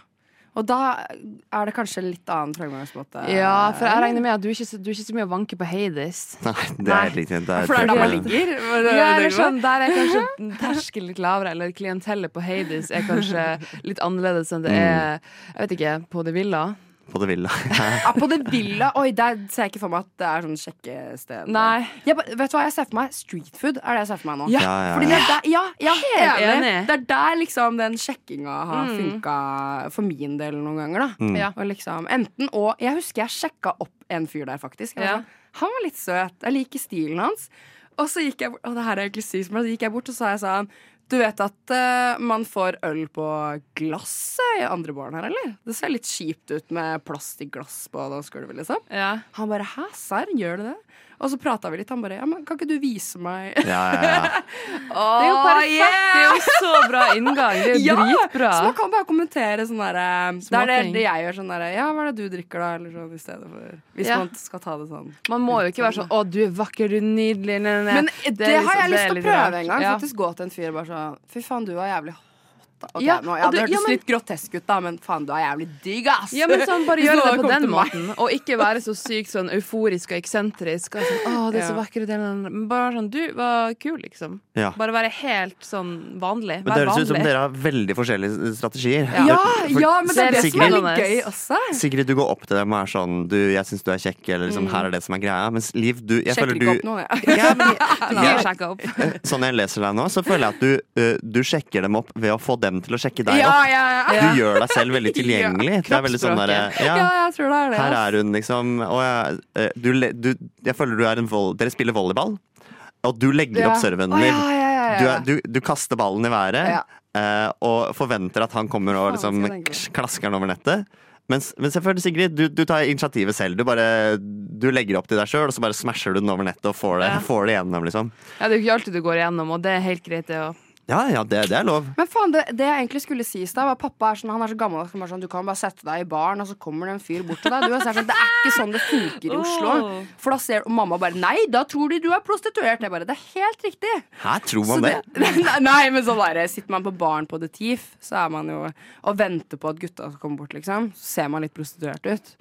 Speaker 6: Og da er det kanskje en litt annen fremgangsmåte.
Speaker 8: Ja, for
Speaker 6: eh,
Speaker 8: jeg regner med at du er ikke, så- du er ikke så mye å vanke på Hades.
Speaker 5: Nei, det er helt riktig. Det er,
Speaker 6: For det er der man
Speaker 5: det er-
Speaker 6: ligger.
Speaker 8: Ja, eller sånn, Der er kanskje terskelen litt lavere, eller klientellet på Hades er kanskje litt annerledes enn det
Speaker 5: Mm.
Speaker 8: er Jeg vet ikke, på det villa.
Speaker 5: på det ville.
Speaker 6: Ja, på det villa. Oi, der ser jeg ikke for meg at det er sånn sjekkested.
Speaker 8: Nei.
Speaker 6: Jeg, ba- vet du hva jeg ser for meg? Street food er det jeg ser for meg nå.
Speaker 8: Ja,
Speaker 5: Ja, ja,
Speaker 6: Fordi
Speaker 5: ja.
Speaker 6: det er der, ja, ja
Speaker 8: Helt
Speaker 6: enig.
Speaker 8: enig. Mm.
Speaker 6: Det er der liksom den sjekkinga har funka for min del noen ganger. da
Speaker 5: Mm.
Speaker 8: Ja.
Speaker 6: Og liksom enten og Jeg husker jeg sjekka opp en fyr der, faktisk. Jeg var
Speaker 8: Ja.
Speaker 6: sånn, han var litt søt. Jeg liker stilen hans. Og så gikk jeg bort, og det her er egentlig sykt, men så gikk jeg bort og så sa jeg sånn Du vet at eh, man får øl på glass eh, i andre baren her, eller? Det ser litt kjipt ut med plastikkglass på dansegulvet, liksom.
Speaker 8: Ja.
Speaker 6: Han bare 'hæ, serr, gjør du det?' Og så prata vi litt. Han bare 'ja, men kan ikke du vise meg'
Speaker 5: Ja, ja, ja.
Speaker 8: Det er jo perfekt!
Speaker 6: yeah!
Speaker 8: Det er jo så bra inngang. Det er jo
Speaker 6: Ja!
Speaker 8: dritbra.
Speaker 6: Så man kan bare kommentere sånn derre Det er det,
Speaker 8: Smaking.
Speaker 6: det jeg gjør sånn derre Ja, hva er det du drikker, da? Eller sånn i stedet for Hvis
Speaker 8: Ja.
Speaker 6: man skal ta det sånn.
Speaker 8: Man må jo ikke være sånn 'Å, du er vakker, du er nydelig' nei, nei, nei.
Speaker 6: Men det,
Speaker 8: er liksom-
Speaker 6: har jeg
Speaker 8: det
Speaker 6: lyst
Speaker 8: er
Speaker 6: til å
Speaker 8: litt
Speaker 6: prøve
Speaker 8: rart.
Speaker 6: en gang.
Speaker 8: Ja.
Speaker 6: Faktisk gå til en fyr og bare sånn Fy faen, du var jævlig hot, da. Ok,
Speaker 8: Ja,
Speaker 6: nå, ja,
Speaker 8: og du-
Speaker 6: det hørtes
Speaker 8: ja, men-
Speaker 6: litt grotesk ut, da, men faen, du er jævlig digg, ass!
Speaker 8: Ja, men sånn, bare
Speaker 6: Hvis
Speaker 8: gjør
Speaker 6: noen
Speaker 8: det
Speaker 6: hadde
Speaker 8: på
Speaker 6: kommet
Speaker 8: den
Speaker 6: til meg.
Speaker 8: måten, og ikke være så sykt sånn euforisk og eksentrisk. Og sånn, Åh, det er så
Speaker 6: Ja.
Speaker 8: vakre deler av den». Men Bare være sånn Du var kul, liksom.
Speaker 5: Ja.
Speaker 8: Bare være helt sånn vanlig.
Speaker 5: Men det
Speaker 8: Vær
Speaker 5: høres ut som
Speaker 8: vanlig.
Speaker 5: dere har veldig forskjellige strategier.
Speaker 8: Ja.
Speaker 6: Ja,
Speaker 5: For-
Speaker 6: ja, men det er det som er litt
Speaker 8: Sigrid-
Speaker 6: gøy også.
Speaker 5: Sigrid, du går opp til dem og er sånn du, 'Jeg syns du er kjekk', eller liksom 'Her er det som er greia'. Mens Liv, du jeg
Speaker 6: Sjekker
Speaker 5: føler
Speaker 6: ikke
Speaker 5: du
Speaker 6: opp noen, jeg.
Speaker 5: ja, men,
Speaker 8: Blir
Speaker 5: jeg,
Speaker 8: sjekket opp.
Speaker 5: Sånn jeg leser deg nå, så føler jeg at du, eh, du sjekker dem opp ved å få dem til å sjekke deg
Speaker 6: Ja,
Speaker 5: opp.
Speaker 6: ja, ja.
Speaker 5: Du gjør deg selv veldig tilgjengelig. Det er veldig sånn der,
Speaker 6: ja,
Speaker 5: ja,
Speaker 6: jeg tror det er det.
Speaker 5: her
Speaker 6: ass.
Speaker 5: er hun, liksom. Og jeg, eh, du, le- du, jeg føler du er en vold... Dere spiller volleyball, og du legger
Speaker 6: Ja.
Speaker 5: opp serven
Speaker 6: Å,
Speaker 5: din.
Speaker 6: ja, ja, ja, ja.
Speaker 5: Du, er, du, du kaster ballen i været
Speaker 6: Ja.
Speaker 5: eh, og forventer at han kommer og
Speaker 6: Faen,
Speaker 5: liksom,
Speaker 6: skal jeg tenke
Speaker 5: ksk- klasker den over nettet. Mens, mens jeg føler, Sigrid, du, du tar initiativet selv. Du, bare, du legger opp til deg sjøl, og så bare smasher du den over nettet og får det,
Speaker 8: Ja.
Speaker 5: får det gjennom. Liksom.
Speaker 8: Ja, det er jo ikke alltid du går igjennom, og det er helt greit, det òg.
Speaker 5: Ja, ja, det, det er lov.
Speaker 6: Men faen, det, det jeg egentlig skulle si i stad, var at pappa er sånn, han er så gammel at han bare sånn, du kan bare sette deg i baren, og så kommer det en fyr bort til deg. Du er sånn, det er ikke sånn det funker i Oslo.
Speaker 8: Åh.
Speaker 6: For da ser og mamma bare Nei, da tror de du er prostituert. Jeg bare, Det er helt riktig.
Speaker 5: Her tror
Speaker 6: Så
Speaker 5: man det.
Speaker 6: Nei, nei, men sånn der, sitter man på baren på The Thief, så er man jo og venter på at gutta skal komme bort, liksom. Så ser man litt prostituert ut.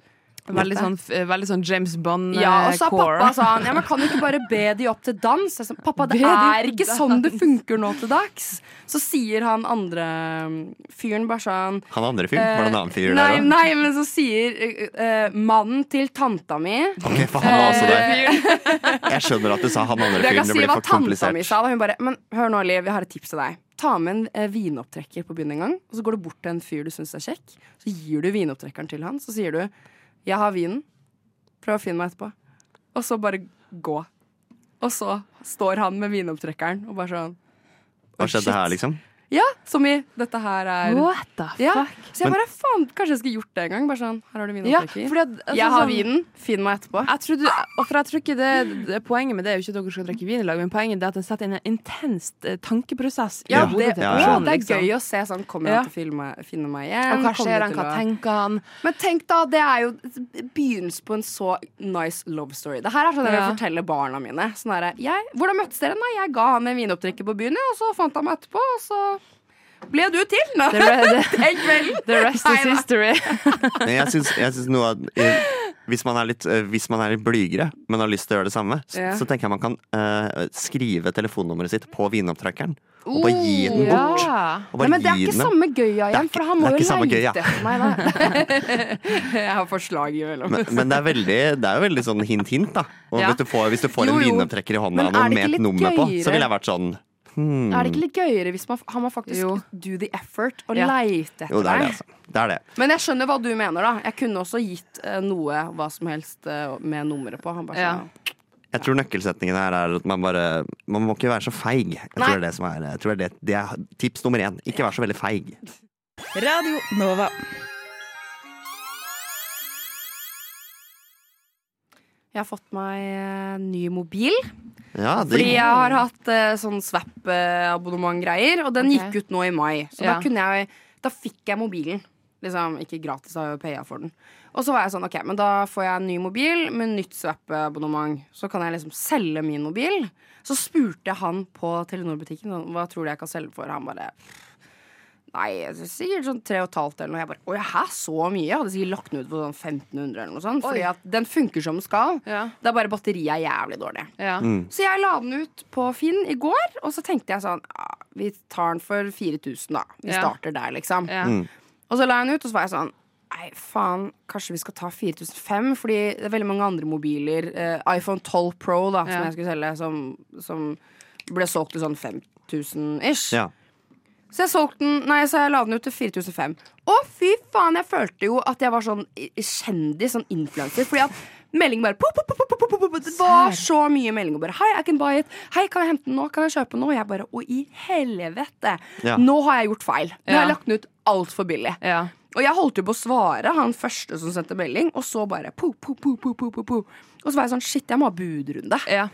Speaker 8: Veldig, sånn, f- eh, veldig sånn James eh,
Speaker 6: Ja, og så er pappa
Speaker 8: Bond-core.
Speaker 6: sånn Ja, men kan du ikke bare be de opp til dans? Jeg er sånn, pappa,
Speaker 8: Be
Speaker 6: det
Speaker 8: de opp
Speaker 6: er
Speaker 8: til
Speaker 6: ikke
Speaker 8: dans.
Speaker 6: sånn det funker nå til dags. Så sier han andre um, fyren bare sånn
Speaker 5: Han andre fyren var det en annen fyr
Speaker 6: Eh, nei,
Speaker 5: der òg.
Speaker 6: nei, men så sier eh, eh, mannen til tanta mi
Speaker 5: Ok, faen, han var også
Speaker 6: Eh,
Speaker 5: der. Jeg skjønner at du sa han andre
Speaker 6: Det jeg
Speaker 5: fyren. Det
Speaker 6: kan si
Speaker 5: blir
Speaker 6: hva
Speaker 5: for
Speaker 6: tanta mi
Speaker 5: komplisert.
Speaker 6: sa da. Hun bare Men hør nå, Liv, jeg har et tips til deg. Ta med en eh, vinopptrekker på byen en gang, og så går du bort til en fyr du syns er kjekk. Så gir du vinopptrekkeren til han, så sier du 'Jeg har vinen. Prøv å finne meg etterpå.' Og så bare gå. Og så står han med vinopptrekkeren og bare sånn
Speaker 5: Hva skjedde her, liksom?
Speaker 6: Ja, som i 'Dette her er
Speaker 8: What the fuck?
Speaker 6: Ja. Så jeg bare faen, kanskje jeg skulle gjort det en gang. Bare sånn, her har du
Speaker 8: Ja,
Speaker 6: vinopptrekker.
Speaker 8: fordi at, altså,
Speaker 6: jeg har
Speaker 8: sånn-
Speaker 6: vinen, finn meg etterpå.
Speaker 8: Jeg trodde, og for jeg tror ikke det, det Poenget med det er jo ikke at dere skal drikke vin i lag, men poenget er at den setter inn en intens eh, tankeprosess. i
Speaker 5: Ja,
Speaker 8: hodet
Speaker 6: det,
Speaker 8: til
Speaker 5: ja,
Speaker 6: å,
Speaker 5: ja.
Speaker 8: personen,
Speaker 6: det
Speaker 8: liksom.
Speaker 6: er gøy å se sånn Kommer
Speaker 8: Ja.
Speaker 6: han til å filme- finne meg igjen?
Speaker 8: Og hva
Speaker 6: Kommer
Speaker 8: skjer
Speaker 6: til
Speaker 8: han, hva
Speaker 6: å-
Speaker 8: tenker han?
Speaker 6: Men tenk da, det er jo begynnelsen på en så nice love story. Det her er sånn jeg vil
Speaker 8: Ja.
Speaker 6: fortelle barna mine. Sånn her, jeg, hvordan møttes dere? Nei, jeg ga han en vinopptrekker på byen, jeg, og så fant han meg etterpå, og så ble du til. Nå.
Speaker 8: The, re
Speaker 6: Den kvelden.
Speaker 8: the rest is
Speaker 6: Nei, nei.
Speaker 8: history.
Speaker 5: Nei, jeg syns, jeg syns noe av eh, hvis man, er litt, eh, hvis man er litt blygere, men har lyst til å gjøre det samme, så,
Speaker 6: Ja.
Speaker 5: så tenker jeg man kan eh, skrive telefonnummeret sitt på vinopptrekkeren. Og bare gi den
Speaker 6: Oh,
Speaker 5: bort.
Speaker 8: Ja.
Speaker 5: Og
Speaker 6: Nei,
Speaker 5: bare
Speaker 6: men det er
Speaker 5: gi
Speaker 6: ikke
Speaker 5: den dem.
Speaker 6: samme gøya
Speaker 5: Det er
Speaker 6: igjen,
Speaker 5: ikke-
Speaker 6: for han må
Speaker 5: det er
Speaker 6: jo
Speaker 5: ikke samme gøya.
Speaker 6: leite etter meg. Da. jeg har forslag imellom.
Speaker 5: Men, men det, er veldig, det er jo veldig sånn hint-hint, da. Og
Speaker 8: Ja.
Speaker 5: hvis du får, hvis du får
Speaker 6: Jo,
Speaker 5: en
Speaker 6: jo.
Speaker 5: vinopptrekker i hånda
Speaker 6: Men er
Speaker 5: noe
Speaker 6: det ikke
Speaker 5: med et
Speaker 6: litt
Speaker 5: nummer på,
Speaker 6: gøyere?
Speaker 5: så ville jeg vært sånn hmm.
Speaker 6: Er det ikke litt gøyere hvis man, han må faktisk
Speaker 8: Jo.
Speaker 6: do the effort og
Speaker 8: Ja.
Speaker 6: leite etter
Speaker 5: Jo, det er det,
Speaker 6: deg?
Speaker 5: altså. Det er det.
Speaker 6: Men jeg skjønner hva du mener, da. Jeg kunne også gitt eh, noe hva som helst eh, med nummeret på. Han bare
Speaker 8: Ja.
Speaker 6: sånn,
Speaker 5: Jeg tror nøkkelsetningen her er at man bare Man må ikke være så feig. Jeg tror
Speaker 6: Nei.
Speaker 5: det er det som er, jeg tror det, er det, det er tips nummer én. Ikke vær så veldig feig.
Speaker 10: Radio Nova.
Speaker 6: Jeg har fått meg eh, ny mobil.
Speaker 5: Ja,
Speaker 6: Fordi
Speaker 5: digg.
Speaker 6: jeg har hatt eh, sånn Swap-abonnement-greier, og den
Speaker 8: Ok.
Speaker 6: gikk ut nå i mai. Så da
Speaker 8: Ja.
Speaker 6: kunne jeg Da fikk jeg mobilen. Liksom, ikke gratis, da har jeg jo paya for den. Og så var jeg sånn, ok, men da får jeg en ny mobil med nytt Swap-abonnement. Så kan jeg liksom selge min mobil. Så spurte jeg han på Telenor-butikken sånn, hva tror du jeg kan selge for. Han bare Nei, sikkert sånn tre og et halvt eller noe. Jeg bare, Å ja, hæ, så mye? Jeg hadde sikkert lagt den ut på sånn 1500 eller noe sånt. Fordi at den funker som den skal.
Speaker 8: Ja.
Speaker 6: Det er bare batteriet er jævlig dårlig.
Speaker 8: Ja.
Speaker 5: Mm.
Speaker 6: Så jeg la den ut på Finn i går, og så tenkte jeg sånn ah, Vi tar den for 4000, da. Vi
Speaker 8: Ja.
Speaker 6: starter der, liksom.
Speaker 8: Ja.
Speaker 6: Og så la jeg den ut, og så var jeg sånn Nei, faen, kanskje vi skal ta 4005, fordi det er veldig mange andre mobiler. eh, iPhone 12 Pro, da,
Speaker 8: Ja.
Speaker 6: som jeg skulle selge, som, som ble solgt til sånn 5000 ish.
Speaker 5: Ja.
Speaker 6: Så jeg, solgte den, nei, så jeg la den ut til 4005. Å, fy faen! Jeg følte jo at jeg var sånn i- kjendis, sånn influenser. Fordi at melding bare pop, pop, pop, pop, pop, pop, pop. Det var så mye meldinger. Bare, Hei, I can buy it. Hei, kan jeg hente den nå? Kan jeg kjøpe den nå? Og jeg bare Å, i helvete!
Speaker 5: Ja.
Speaker 6: Nå har jeg gjort feil. Nå har jeg
Speaker 8: Ja.
Speaker 6: lagt den ut altfor billig.
Speaker 8: Ja.
Speaker 6: Og jeg holdt jo på å svare han første som sendte melding, og så bare po, po, po, po, po, po, po. Og så var jeg sånn Shit, jeg må ha budrunde.
Speaker 8: Ja.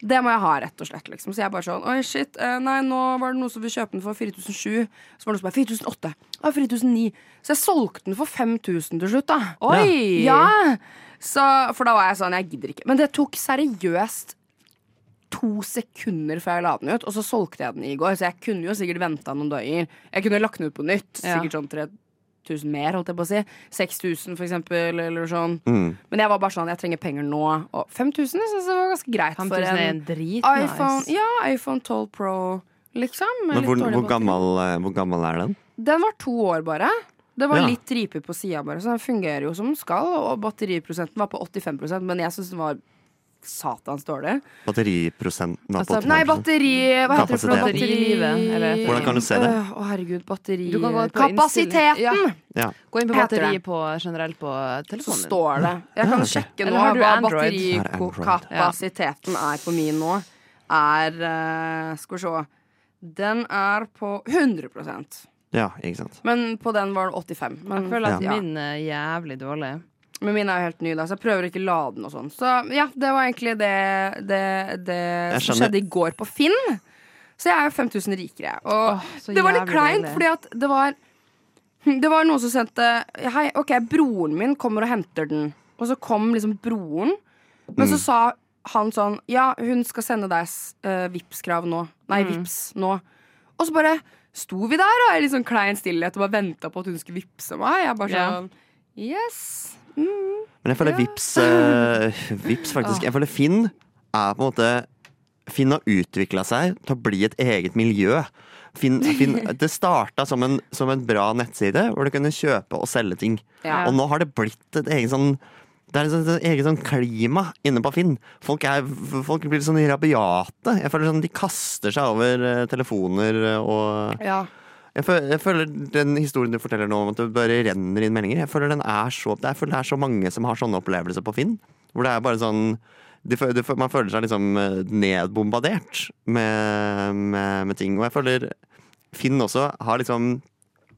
Speaker 6: Det må jeg ha, rett og slett. Liksom. Så jeg bare sånn Oi, shit. eh, Nei, nå var det noen som ville kjøpe den for 4007. Så var det noen som bare 4008. Og 4009. Så jeg solgte den for 5000 til slutt, da.
Speaker 8: Oi!
Speaker 6: Ja! Så, for da var jeg sånn Jeg gidder ikke. Men det tok seriøst to sekunder før jeg la den ut, og så solgte jeg den i går. Så jeg kunne jo sikkert venta noen dager. Jeg kunne lagt den ut på nytt.
Speaker 8: Ja.
Speaker 6: Sikkert sånn 3000 mer, holdt jeg på å si. 6000, for eksempel, eller sånn.
Speaker 5: Mm.
Speaker 6: Men jeg var bare sånn, jeg trenger penger nå. Og 5000 jeg synes det var ganske greit
Speaker 8: 5000
Speaker 6: for
Speaker 8: er
Speaker 6: en
Speaker 8: en drit
Speaker 6: iPhone,
Speaker 8: nice.
Speaker 6: ja, iPhone 12 Pro, liksom. med
Speaker 5: Men
Speaker 6: litt
Speaker 5: hvor,
Speaker 6: dårlig
Speaker 5: hvor,
Speaker 6: batteri.
Speaker 5: gammel, eh, hvor gammel er den?
Speaker 6: Den var to år bare. Det var
Speaker 5: Ja.
Speaker 6: litt riper på sida, bare, så den fungerer jo som den skal. Og batteriprosenten var på 85 men jeg syns den var satans dårlig.
Speaker 5: Batteriprosenten var på
Speaker 8: Altså,
Speaker 5: 85%.
Speaker 6: Nei, batteri Hva heter det for noe?
Speaker 5: Kapasitet.
Speaker 8: Batterilivet, eller et eller
Speaker 5: Hvordan kan du se det?
Speaker 6: Øh, Å, herregud, batteri
Speaker 8: Du kan gå på
Speaker 6: Kapasiteten!
Speaker 8: innstilling.
Speaker 5: Ja.
Speaker 8: Gå inn på
Speaker 6: Heter
Speaker 8: batteri
Speaker 6: det.
Speaker 8: på, generelt på
Speaker 6: Så
Speaker 8: telefonen din.
Speaker 6: står det. Jeg kan sjekke nå
Speaker 8: Eller har du
Speaker 6: hva
Speaker 8: Android?
Speaker 5: Har jeg Android?
Speaker 6: batterikapasiteten er på min nå. Er eh, Skal vi se. Den er på 100
Speaker 5: ja, ikke sant.
Speaker 6: Men på den var det 85. Men,
Speaker 8: Jeg føler at
Speaker 6: ja.
Speaker 8: min eh, er jævlig dårlig.
Speaker 6: Men min er jo helt ny, da, så jeg prøver ikke å lade den og sånn. Så ja, det var egentlig det, det, det
Speaker 5: Jeg
Speaker 6: som
Speaker 5: skjønner.
Speaker 6: skjedde i går på Finn. Så jeg er jo 5000 rikere. Og
Speaker 8: Åh, så
Speaker 6: det var litt
Speaker 8: jævlig
Speaker 6: kleint,
Speaker 8: deilig.
Speaker 6: fordi at det var Det var noen som sendte Hei, OK, broren min kommer og henter den. Og så kom liksom broren, men så sa han sånn Ja, hun skal sende deg uh, Vipps-krav nå. Nei,
Speaker 8: Mm.
Speaker 6: Vipps nå. Og så bare sto vi der da, i litt sånn klein stillhet og bare venta på at hun skulle vippse meg. Jeg bare
Speaker 8: Ja.
Speaker 6: sånn Yes.
Speaker 5: Men jeg føler Vips, eh, Vips faktisk Jeg føler Finn er på en måte Finn har utvikla seg til å bli et eget miljø. Finn, Finn, det starta som, en- som en bra nettside hvor du kunne kjøpe og selge ting.
Speaker 6: Ja.
Speaker 5: Og nå har det blitt et eget sånn det er et sånt- et eget sånn klima inne på Finn. Folk, er, folk blir sånn rabiate. Jeg føler sånn De kaster seg over eh, telefoner og
Speaker 6: Ja.
Speaker 5: jeg føler, jeg føler den historien du forteller nå om at det bare renner inn meldinger, jeg føler, den er så, jeg føler det er så mange som har sånne opplevelser på Finn. Hvor det er bare sånn de, fø- de, fø- Man føler seg liksom eh, nedbombardert med, med, med ting. Og jeg føler Finn også har liksom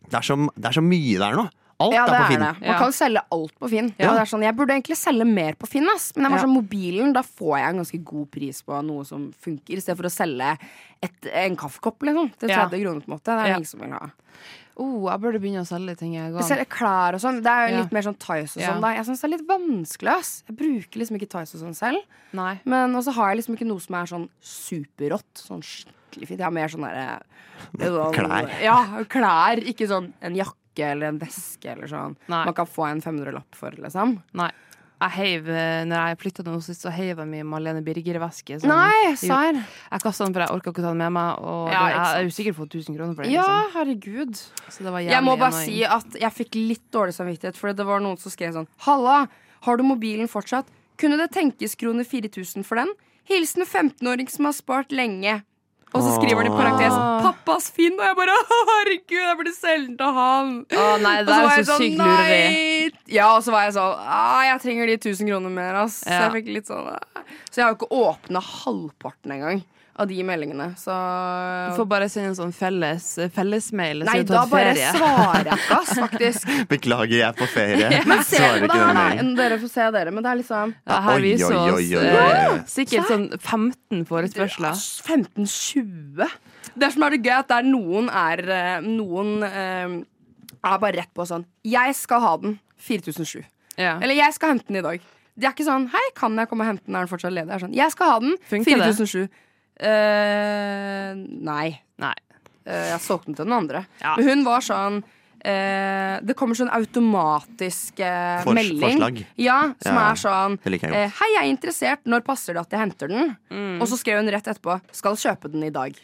Speaker 5: Det er så, det er så mye der nå. Alt
Speaker 6: Ja, det
Speaker 5: er på
Speaker 6: er
Speaker 5: Finn.
Speaker 6: det. Man
Speaker 8: Ja.
Speaker 6: kan jo selge alt på Finn.
Speaker 5: Ja.
Speaker 6: Og det er sånn, jeg burde egentlig selge mer på Finn, ass. men jeg var
Speaker 8: Ja.
Speaker 6: sånn, mobilen da får jeg en ganske god pris på noe som funker, i stedet for å selge et, en kaffekopp liksom, til
Speaker 8: Ja.
Speaker 6: 30 kroner. på en måte Det er
Speaker 8: Ja.
Speaker 6: det ingen som vil ha.
Speaker 8: Oh, jeg burde begynne å selge ting, jeg
Speaker 6: Jeg
Speaker 8: òg.
Speaker 6: selger klær og sånn. Det er jo
Speaker 8: Ja.
Speaker 6: litt mer sånn Tice og
Speaker 8: Ja.
Speaker 6: sånn. da Jeg syns det er litt vanskelig. ass Jeg bruker liksom ikke Tice og sånn selv.
Speaker 8: Nei.
Speaker 6: Men også har jeg liksom ikke noe som er sånn superrått. Sånn skikkelig fint. Jeg har mer sånn derre sånn-
Speaker 5: Klær.
Speaker 6: Ja, klær. Ikke sånn en jakke eller en veske eller sånn.
Speaker 8: Nei.
Speaker 6: Man kan få en 500-lapp for, liksom.
Speaker 8: Nei. Jeg heiv, eh, når jeg flytta nå sist, så heiv jeg min Malene Birger-veske. som-
Speaker 6: Nei,
Speaker 8: Jo,
Speaker 6: serr.
Speaker 8: Jeg kasta den, for jeg orka ikke ta den med meg. Og
Speaker 6: Ja,
Speaker 8: det,
Speaker 6: ikke
Speaker 8: jeg
Speaker 6: sant.
Speaker 8: har jo sikkert fått 1000 kroner for det.
Speaker 6: Ja,
Speaker 8: Liksom.
Speaker 6: herregud.
Speaker 8: Så det var jævlig
Speaker 6: Jeg må bare
Speaker 8: annoying.
Speaker 6: si at jeg fikk litt dårlig samvittighet, for det var noen som skrev sånn Halla, har du mobilen fortsatt? Kunne det tenkes kroner 4000 for den? Hilsen 15-åring som har spart lenge. Og så skriver han i parentes
Speaker 8: Åh.
Speaker 6: 'Pappas Finn', og jeg bare «Å, herregud, jeg burde selge den til han.
Speaker 8: Å nei, det der er så sykt lureri.
Speaker 6: sånn, nei! Ja, og så var jeg sånn «Ah, Jeg trenger de 1000 kroner mer, ass. Så
Speaker 8: Ja.
Speaker 6: jeg fikk litt sånn «Ah». Så jeg har jo ikke åpna halvparten engang av de meldingene, så
Speaker 8: Du får bare sende en sånn felles fellesmail.
Speaker 6: Nei, da bare svarer jeg ikke, ass, faktisk.
Speaker 5: Beklager, jeg er på ferie.
Speaker 6: Men se
Speaker 5: Svarer
Speaker 6: på det
Speaker 5: ikke den
Speaker 6: her, da.
Speaker 5: mailen.
Speaker 6: Nå, Dere får se dere, men det er liksom
Speaker 8: Ja, her
Speaker 5: Oi,
Speaker 8: viser
Speaker 5: oi,
Speaker 8: oss
Speaker 5: oi, oi,
Speaker 8: eh,
Speaker 5: oi.
Speaker 8: sikkert sånn 15 forespørsler.
Speaker 6: 15-20. Det som er det gøy, er at der noen er eh, Noen eh, er bare rett på sånn Jeg skal ha den. 4007.
Speaker 8: Ja.
Speaker 6: Eller jeg skal hente den i dag. De er ikke sånn Hei, kan jeg komme og hente den? Er den fortsatt ledig? Det Er sånn, jeg skal ha den.
Speaker 8: Funker det?
Speaker 6: 4007. Eh, nei.
Speaker 8: Nei.
Speaker 6: Eh, jeg solgte den til den andre.
Speaker 8: Ja.
Speaker 6: Men hun var sånn eh, Det kommer sånn automatisk eh,
Speaker 5: Fors-
Speaker 6: melding.
Speaker 5: forslag.
Speaker 6: Ja, som
Speaker 5: Ja,
Speaker 6: er sånn
Speaker 5: det liker jeg
Speaker 6: eh, Hei, jeg er interessert. Når passer det at jeg henter den?
Speaker 8: Mm.
Speaker 6: Og så skrev hun rett etterpå Skal kjøpe den i dag.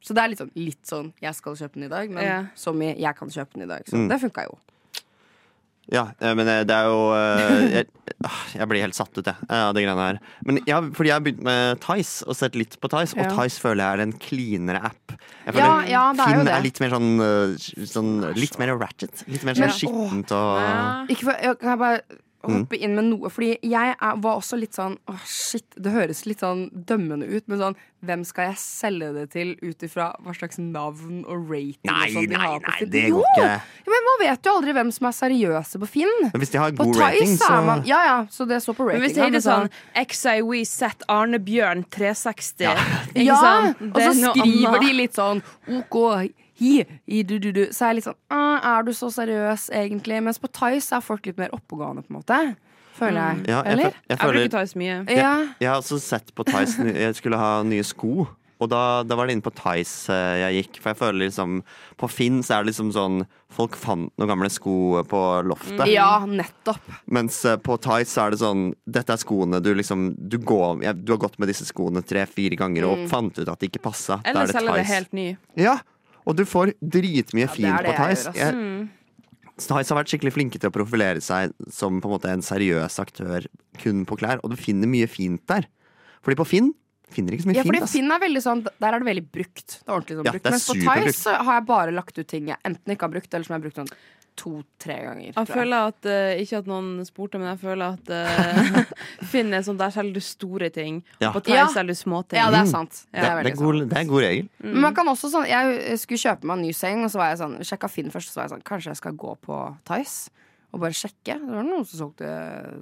Speaker 6: Så det er litt sånn, litt sånn jeg skal kjøpe den i dag, men
Speaker 8: Ja.
Speaker 6: som i jeg kan kjøpe den i dag. Så
Speaker 5: Mm.
Speaker 6: det funka jo.
Speaker 5: Ja, eh, men eh, det er jo eh, Jeg, ah, jeg blir helt satt ut, jeg, eh, av de greiene her. Men jeg, har- fordi jeg har begynt med Tice og sett litt på Tice, og
Speaker 8: Ja.
Speaker 5: Tice føler jeg er en cleanere app. Jeg
Speaker 6: Ja,
Speaker 5: føler
Speaker 6: ja, det er jo
Speaker 5: Finn
Speaker 6: det.
Speaker 5: er litt mer sånn, eh, sånn Litt mer ratchet. Litt mer sånn
Speaker 6: Men-
Speaker 5: skittent og
Speaker 6: Ikke for, jeg, kan jeg bare
Speaker 5: Mm.
Speaker 6: hoppe inn med noe? Fordi jeg er, var også litt sånn åh, shit, Det høres litt sånn dømmende ut, men sånn Hvem skal jeg selge det til ut ifra hva slags navn og rating
Speaker 5: Nei,
Speaker 6: og sånn de
Speaker 5: nei,
Speaker 6: har på
Speaker 5: nei,
Speaker 6: Finn?
Speaker 5: det
Speaker 6: Jo!
Speaker 5: går ikke.
Speaker 6: Ja, men man vet jo aldri hvem som er seriøse på Finn.
Speaker 5: Men hvis de har
Speaker 6: På
Speaker 5: god rating,
Speaker 6: Tice
Speaker 5: så
Speaker 6: er man Ja ja, så det står på
Speaker 8: Men
Speaker 6: ratinga.
Speaker 8: vi sier det sånn
Speaker 6: sånn,
Speaker 8: XIWZ Arne Bjørn 360. Ikke
Speaker 6: Ja!
Speaker 8: sant?
Speaker 6: Og
Speaker 8: Det
Speaker 6: så
Speaker 8: er noe
Speaker 6: skriver
Speaker 8: annet.
Speaker 6: de litt sånn OK, hi, hi, du, du, du. Så er jeg litt sånn «Ah, Er du så seriøs, egentlig? Mens på Tice er folk litt mer oppegående, på en måte. føler jeg.
Speaker 5: Mm. Ja, jeg,
Speaker 8: Eller?
Speaker 5: fø- jeg
Speaker 8: bruker
Speaker 5: føler
Speaker 8: ikke ta i så mye.
Speaker 6: Ja.
Speaker 5: Jeg har også sett på Tice Jeg skulle ha nye sko. Og da, da var det inne på Tice eh, jeg gikk. For jeg føler liksom På Finn så er det liksom sånn Folk fant noen gamle sko på loftet.
Speaker 6: Mm. ja, nettopp.
Speaker 5: Mens eh, på Tice så er det sånn Dette er skoene du liksom Du, går, ja, du har gått med disse skoene tre-fire ganger og fant ut at det ikke passa. Da er
Speaker 8: Eller
Speaker 5: det
Speaker 8: selge det
Speaker 5: Tice.
Speaker 8: helt ny.
Speaker 5: Ja, og du får dritmye
Speaker 6: det
Speaker 5: fint
Speaker 6: er det
Speaker 5: på
Speaker 6: jeg
Speaker 5: Tice.
Speaker 6: gjør, ass.
Speaker 5: Jeg- Tice har vært skikkelig flinke til å profilere seg som på en måte en seriøs aktør kun på klær, og du finner mye fint der. Fordi på Finn finner ikke så mye
Speaker 6: Ja, fordi
Speaker 5: fint. ass.
Speaker 6: Finn er veldig sånn Der er det veldig brukt. Det er ordentlig sånn
Speaker 5: Ja,
Speaker 6: brukt.
Speaker 5: det er
Speaker 6: Mens på
Speaker 5: superbrukt.
Speaker 6: Tice så har jeg bare lagt ut ting jeg enten ikke har brukt, eller som jeg har brukt sånn to-tre ganger.
Speaker 8: Jeg
Speaker 6: tror jeg.
Speaker 8: føler at, eh, Ikke at noen spurte, men jeg føler at eh, Finn er sånn der selger du store ting.
Speaker 5: Ja.
Speaker 8: På Tice
Speaker 6: Ja.
Speaker 8: selger du små ting.
Speaker 6: Ja, det er sant.
Speaker 5: Mm. det, er, det,
Speaker 6: veldig
Speaker 5: er god, det er en god regel.
Speaker 6: sant. Men man kan også sånn Jeg skulle kjøpe meg en ny seng, og så var jeg sånn sjekka Finn først, og så var jeg sånn Kanskje jeg skal gå på Tice og bare sjekke. Det var noen som solgte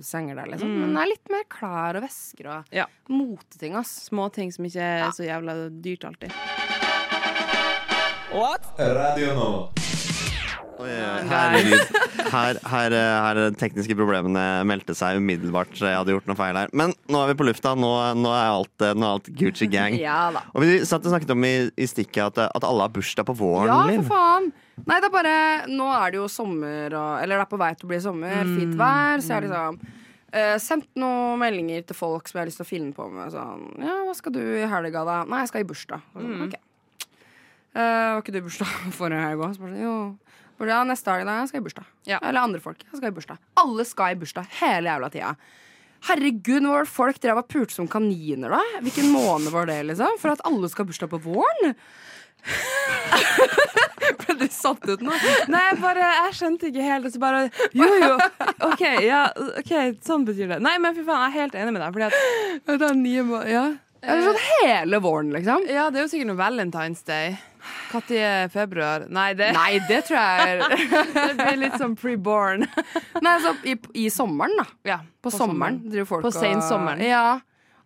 Speaker 6: senger der, liksom. Men det er litt mer klær og vesker og
Speaker 8: Mm. Ja.
Speaker 6: moteting, ass.
Speaker 8: Små ting som ikke er så jævla dyrt alltid.
Speaker 7: Radio Nova.
Speaker 5: Oi, Herregud. Eh, Her, her, eh, her er de tekniske problemene meldte seg umiddelbart. Jeg hadde gjort noe feil her. Men nå er vi på lufta. Nå, nå, er, alt, eh, nå er alt Gucci gang.
Speaker 6: Ja da.
Speaker 5: Og vi satt og snakket om i, i stikket at, eh, at alle har bursdag på våren.
Speaker 6: Ja,
Speaker 5: Liv.
Speaker 6: for faen. Nei, det er bare Nå er det jo sommer, og, eller det er på vei til å bli sommer. Fint vær. Så jeg har liksom eh, sendt noen meldinger til folk som jeg har lyst til å finne på med. Sånn Ja, hva skal du i helga, da? Nei, jeg skal i bursdag. Og Sånn, ok. Eh, var ikke du i bursdag forrige helg òg? Så bare sånn, jo. Bare, ja, neste dag, da. Jeg skal i bursdag.
Speaker 8: Ja.
Speaker 6: Eller andre folk. Jeg skal i bursdag. Alle skal i bursdag hele jævla tida. Herregud, nå var det folk drev og pulte som kaniner, da. Hvilken måned var det, liksom? For at alle skal ha bursdag på våren? Ble du satt ut nå?
Speaker 8: Nei, jeg bare, jeg skjønte ikke helt. Og så bare Jo, jo. OK, ja, ok, sånn betyr det. Nei, men fy faen, jeg er helt enig med deg. Fordi at,
Speaker 6: Det er ni måneder, ja. Eller sånn hele våren, liksom.
Speaker 8: ja, det er jo sikkert noe Valentine's Day. Når er februar? Nei, det,
Speaker 6: Nei, det tror jeg er
Speaker 8: det blir litt sånn pre-born.
Speaker 6: Nei, altså i, i sommeren, da.
Speaker 8: Ja,
Speaker 6: På, sommeren. driver folk
Speaker 8: På sensommeren.
Speaker 6: Ja.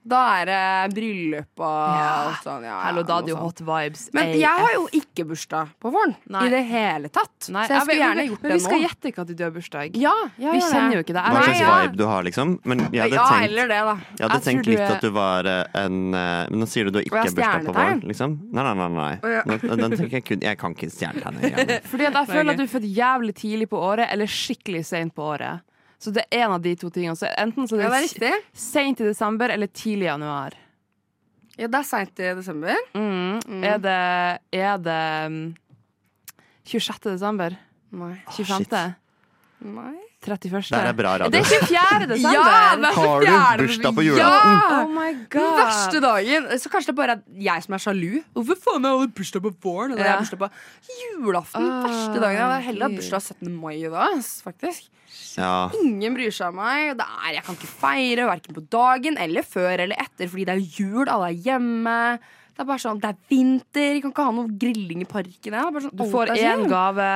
Speaker 6: Da er det bryllup og
Speaker 8: Ja.
Speaker 6: alt sånn. Ja,
Speaker 8: Hallo, da
Speaker 6: noe
Speaker 8: er det jo hot
Speaker 6: sånt.
Speaker 8: vibes.
Speaker 6: Men jeg har jo ikke bursdag på våren
Speaker 8: Nei.
Speaker 6: i det hele tatt.
Speaker 8: Nei,
Speaker 6: så jeg skulle
Speaker 8: vet-
Speaker 6: gjerne gjort
Speaker 8: Men
Speaker 6: det
Speaker 8: vi
Speaker 6: nå.
Speaker 8: skal gjette ikke at du har bursdag.
Speaker 6: Ja, ja,
Speaker 8: Vi
Speaker 6: ja,
Speaker 8: kjenner jo ikke det.
Speaker 5: Hva
Speaker 8: Nei,
Speaker 5: slags
Speaker 8: ja.
Speaker 5: vibe du har, liksom. Men jeg hadde
Speaker 6: Ja,
Speaker 5: tenkt,
Speaker 6: heller det, da.
Speaker 5: jeg hadde
Speaker 8: Jeg tror
Speaker 5: tenkt
Speaker 8: du
Speaker 5: litt
Speaker 8: er-
Speaker 5: at du var eh, en eh, Men nå sier du du ikke
Speaker 6: jeg
Speaker 5: har bursdag på
Speaker 6: stjernetegn?
Speaker 5: våren, liksom? Nei, nei, nei. nei. Nå, den tenker jeg, kun, jeg kan ikke stjernetegn.
Speaker 8: Fordi at jeg føler at du er født jævlig tidlig på året, eller skikkelig sent på året. Så det er en av de to tingene. Så enten så
Speaker 6: Ja,
Speaker 8: er
Speaker 6: det er
Speaker 8: det
Speaker 6: riktig.
Speaker 8: sent i desember eller tidlig i januar.
Speaker 6: Ja, det er seint i desember.
Speaker 8: Mm. Er det, er det mm, 26. desember?
Speaker 6: Nei.
Speaker 8: 25.
Speaker 6: Nei.
Speaker 8: 31.
Speaker 5: Det her er bra
Speaker 8: Det
Speaker 5: radio.
Speaker 8: er 24. desember!
Speaker 6: Ja, det er så
Speaker 5: Har du
Speaker 6: fjerde-
Speaker 5: bursdag på
Speaker 6: Ja!
Speaker 5: julaften?
Speaker 8: Oh my god.
Speaker 6: Den verste dagen. Så kanskje det bare er jeg som er sjalu. Hvorfor faen er alle bursdag på våren? Eller
Speaker 8: Ja.
Speaker 6: jeg har bursdag på julaften. Den
Speaker 8: Ah,
Speaker 6: verste dagen. Jeg hadde heller hatt
Speaker 8: gud.
Speaker 6: bursdag 17. mai i dag, ass, faktisk.
Speaker 5: Ja.
Speaker 6: Ingen bryr seg om meg. og Det er, jeg kan ikke feire verken på dagen eller før eller etter, fordi det er jul, alle er hjemme. Det er bare sånn, det er vinter, jeg kan ikke ha noe grilling i parken. Jeg er bare sånn,
Speaker 8: Du
Speaker 6: alt
Speaker 8: får
Speaker 6: er
Speaker 8: én
Speaker 6: sånn.
Speaker 8: gave.